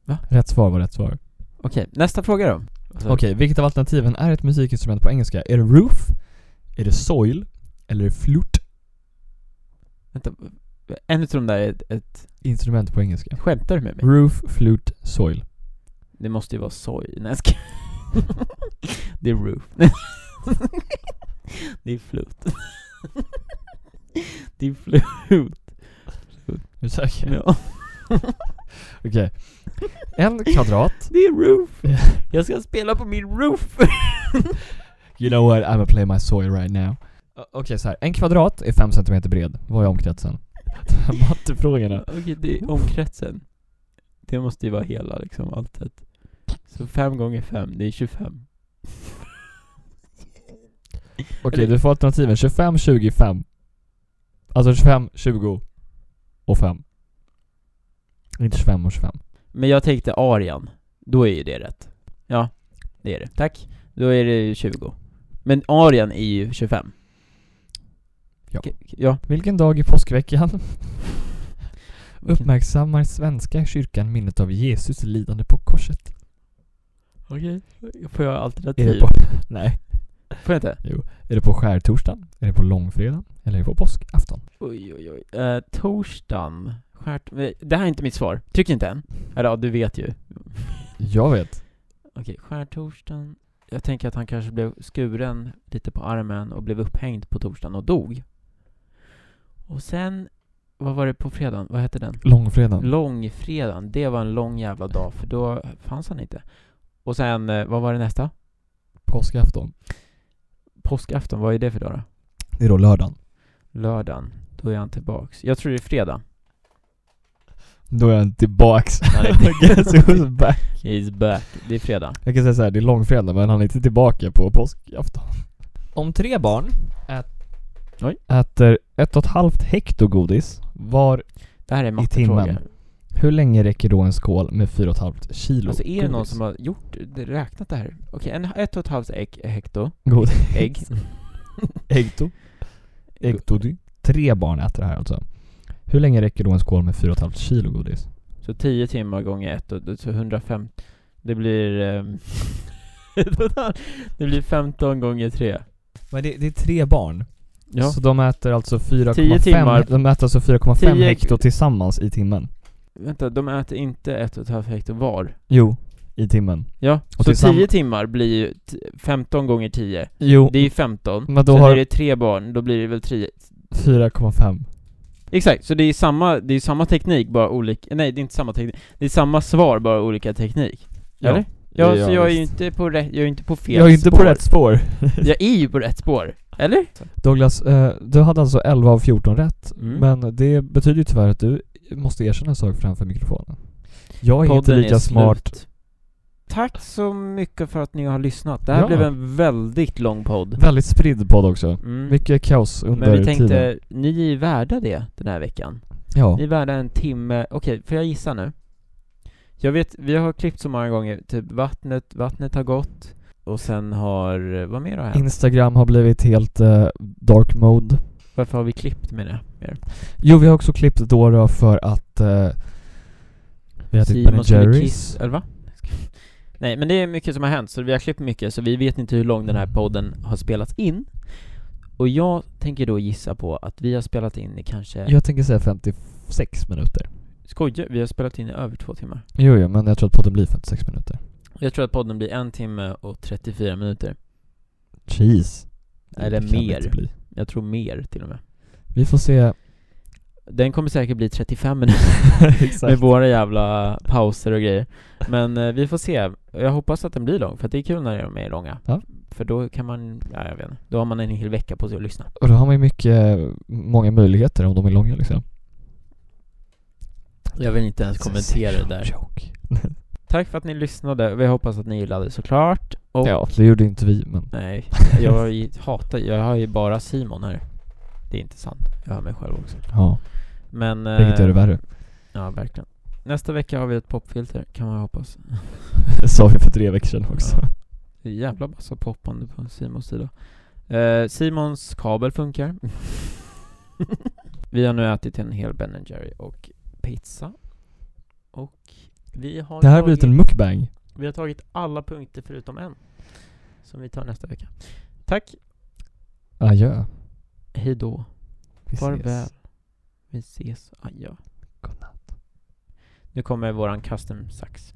Speaker 1: Va? Alltså-
Speaker 2: Rätt svar var rätt svar.
Speaker 1: Okej, nästa fråga då.
Speaker 2: Okej, vilket av alternativen är ett musikinstrument på engelska? Är det roof? Är det soil? Eller är det flute?
Speaker 1: Vänta, en utav de där är ett, ett...
Speaker 2: Instrument på engelska.
Speaker 1: Skämtar du med mig?
Speaker 2: Roof, flute, soil.
Speaker 1: Det måste ju vara soj. Nej jag skojar. [LAUGHS] Det är roof. [LAUGHS] Det är flut. [LAUGHS] Det är flut.
Speaker 2: Är
Speaker 1: [LAUGHS]
Speaker 2: du säker?
Speaker 1: Ja.
Speaker 2: Okej. En kvadrat.
Speaker 1: Det är roof. Jag ska spela på min roof.
Speaker 2: You know what, I'm gonna play my soil right now. O- Okej så här. en kvadrat är 5 cm bred. Vad
Speaker 1: [LAUGHS]
Speaker 2: är omkretsen? De här Mattefrågorna.
Speaker 1: Okej, det är omkretsen. Det måste ju vara hela liksom, alltet. Så fem gånger fem, det är 25.
Speaker 2: Okej, du får alternativen 25, 20, 5. Alltså 25, 20 och 5. Inte 25 och 25.
Speaker 1: Men jag tänkte arian. Då är ju det rätt. Ja, det är det. Tack. Då är det ju 20. Men arian är ju 25.
Speaker 2: Ja.
Speaker 1: K- ja.
Speaker 2: Vilken dag i påskveckan uppmärksammar svenska kyrkan minnet av Jesus lidande på korset?
Speaker 1: Okej. Får jag alternativ?
Speaker 2: Är det på... Nej.
Speaker 1: Får jag inte?
Speaker 2: Är det på skärtorsdagen? Är det på långfredagen? Eller är det på påskafton?
Speaker 1: Oj, oj, oj. Eh, torsdagen. Skärt... eh, Det här är inte mitt svar. Tryck inte än. Eller ja, du vet ju.
Speaker 2: Jag vet.
Speaker 1: Okej, skärtorsdagen. Jag tänker att han kanske blev skuren lite på armen och blev upphängd på torsdagen och dog. Och sen, vad var det på fredagen? Vad hette den?
Speaker 2: Långfredagen.
Speaker 1: Långfredagen. Det var en lång jävla dag för då fanns han inte. Och sen, eh, vad var det nästa?
Speaker 2: Påskafton.
Speaker 1: Påskafton, vad är det för dag då?
Speaker 2: Det är då lördagen.
Speaker 1: Lördagen. Då är han tillbaks. Jag tror det är fredag.
Speaker 2: Då är han tillbaks. [LAUGHS]
Speaker 1: Han är tillbaka.
Speaker 2: Guess who's back.
Speaker 1: He's back. Det är fredag.
Speaker 2: Jag kan säga så här, det är långfredag men han är inte tillbaka på påskafton. Om tre barn ät...
Speaker 1: Oj.
Speaker 2: äter ett och ett halvt hekto godis var,
Speaker 1: Det här är
Speaker 2: timmen.
Speaker 1: mattefrågor.
Speaker 2: hur länge räcker då en skål med fyra och ett halvt kilo
Speaker 1: Alltså är det någon
Speaker 2: godis?
Speaker 1: som har gjort, räknat det här? Okej, en ett och ett halvt ägg, hekto,
Speaker 2: God.
Speaker 1: ägg.
Speaker 2: [LAUGHS] Äggto. Äggtodi. Tre barn äter det här alltså. Hur länge räcker då en skål med 4,5 kilo godis?
Speaker 1: Så 10 timmar gånger ett, och, så 150. Det blir... ehm, [LAUGHS] det blir 15 gånger 3.
Speaker 2: Men det, det är tre barn.
Speaker 1: Ja.
Speaker 2: Så de äter alltså 4,5
Speaker 1: Tio timmar.
Speaker 2: De äter alltså 4,5
Speaker 1: Tio-
Speaker 2: hekto tillsammans i timmen.
Speaker 1: Vänta, de äter inte ett och ett halvt hekto var.
Speaker 2: Jo. I timmen.
Speaker 1: Ja,
Speaker 2: Och
Speaker 1: så
Speaker 2: tillsamm-
Speaker 1: 10 timmar blir ju t- 15 gånger 10.
Speaker 2: Jo.
Speaker 1: Det är ju 15.
Speaker 2: Men Mm. då
Speaker 1: Sen
Speaker 2: har-
Speaker 1: är det tre barn, då blir det väl 10.
Speaker 2: 4,5.
Speaker 1: Exakt, så det är samma, det är samma teknik, bara olika, nej det är inte samma teknik, det är samma svar, bara olika teknik.
Speaker 2: Ja.
Speaker 1: Eller? Ja,
Speaker 2: Ja,
Speaker 1: så jag är ju
Speaker 2: visst.
Speaker 1: inte på rätt, jag är ju inte på fel
Speaker 2: Jag är inte på
Speaker 1: spår.
Speaker 2: rätt spår.
Speaker 1: Jag är ju på rätt spår, eller?
Speaker 2: Douglas, eh, du hade alltså 11 av 14 rätt.
Speaker 1: Mm.
Speaker 2: Men det betyder ju tyvärr att du måste erkänna en sak framför mikrofonen. Jag är inte lika smart.
Speaker 1: slut. Tack så mycket för att ni har lyssnat. Det här
Speaker 2: Ja.
Speaker 1: blev en väldigt lång podd.
Speaker 2: Väldigt spridd podd också.
Speaker 1: Mm.
Speaker 2: Mycket kaos under
Speaker 1: Men vi tänkte,
Speaker 2: tiden.
Speaker 1: ni är värda det den här veckan.
Speaker 2: Ja.
Speaker 1: Ni är värda en timme, okej, får jag gissa nu? Jag vet, vi har klippt så många gånger, typ vattnet, vattnet har gått och sen har, vad mer har hänt?
Speaker 2: Instagram har blivit helt eh, dark mode.
Speaker 1: Varför har vi klippt med det? Mer?
Speaker 2: Jo, vi har också klippt då, då för att eh, vi har ätit Ben
Speaker 1: Simon skulle
Speaker 2: Jerrys.
Speaker 1: kissa- eller va? Nej men det är mycket som har hänt, så vi har klippt mycket så vi vet inte hur lång
Speaker 2: Mm.
Speaker 1: den här podden har spelats in. Och jag tänker då gissa på att vi har spelat in i kanske,
Speaker 2: Jag tänker säga 56 minuter.
Speaker 1: skojar, vi har spelat in i över två timmar.
Speaker 2: Jo, jo, men jag tror att podden blir 56 minuter.
Speaker 1: Jag tror att podden blir en timme och 34 minuter.
Speaker 2: Jeez.
Speaker 1: Eller
Speaker 2: Det kan det
Speaker 1: mer.
Speaker 2: inte bli.
Speaker 1: Jag tror mer till och med.
Speaker 2: Vi får [LAUGHS] se.
Speaker 1: Den kommer säkert bli 35 minuter med
Speaker 2: Exakt.
Speaker 1: våra jävla pauser och grejer. Men eh, vi får se. Jag hoppas att den blir lång, för att det är kul när de är långa.
Speaker 2: Ja.
Speaker 1: För då kan man, ja, jag vet inte, då har man en hel vecka på sig att lyssna.
Speaker 2: Och då har man ju mycket, många möjligheter om de är långa liksom.
Speaker 1: Jag vill inte ens kommentera det där.
Speaker 2: [LAUGHS] Joke.
Speaker 1: Tack för att ni lyssnade, vi hoppas att ni gillade såklart. Och
Speaker 2: Ja, det gjorde inte vi [LAUGHS] men...
Speaker 1: Nej, jag hatar, jag har ju bara Simon här. Det är inte sant. Jag har mig själv också.
Speaker 2: Ja,
Speaker 1: Men...
Speaker 2: vilket gör det
Speaker 1: eh,
Speaker 2: värre.
Speaker 1: Ja, verkligen. Nästa vecka har vi ett popfilter, kan man hoppas.
Speaker 2: Det sa vi för tre veckor sedan också.
Speaker 1: [LAUGHS] Det är jävla massa poppande på Simons sida. Eh, Simons kabel funkar. [LAUGHS] vi har nu ätit en hel Ben Jerry och pizza. Och vi har,
Speaker 2: Det här har
Speaker 1: tagit,
Speaker 2: blivit en mukbang.
Speaker 1: vi har tagit alla punkter förutom en. Som vi tar nästa vecka. Tack,
Speaker 2: Adjö.
Speaker 1: hej då.
Speaker 2: Vi
Speaker 1: Farväl. Vi ses. Adjö.
Speaker 2: Godnatt.
Speaker 1: Nu kommer våran custom sax.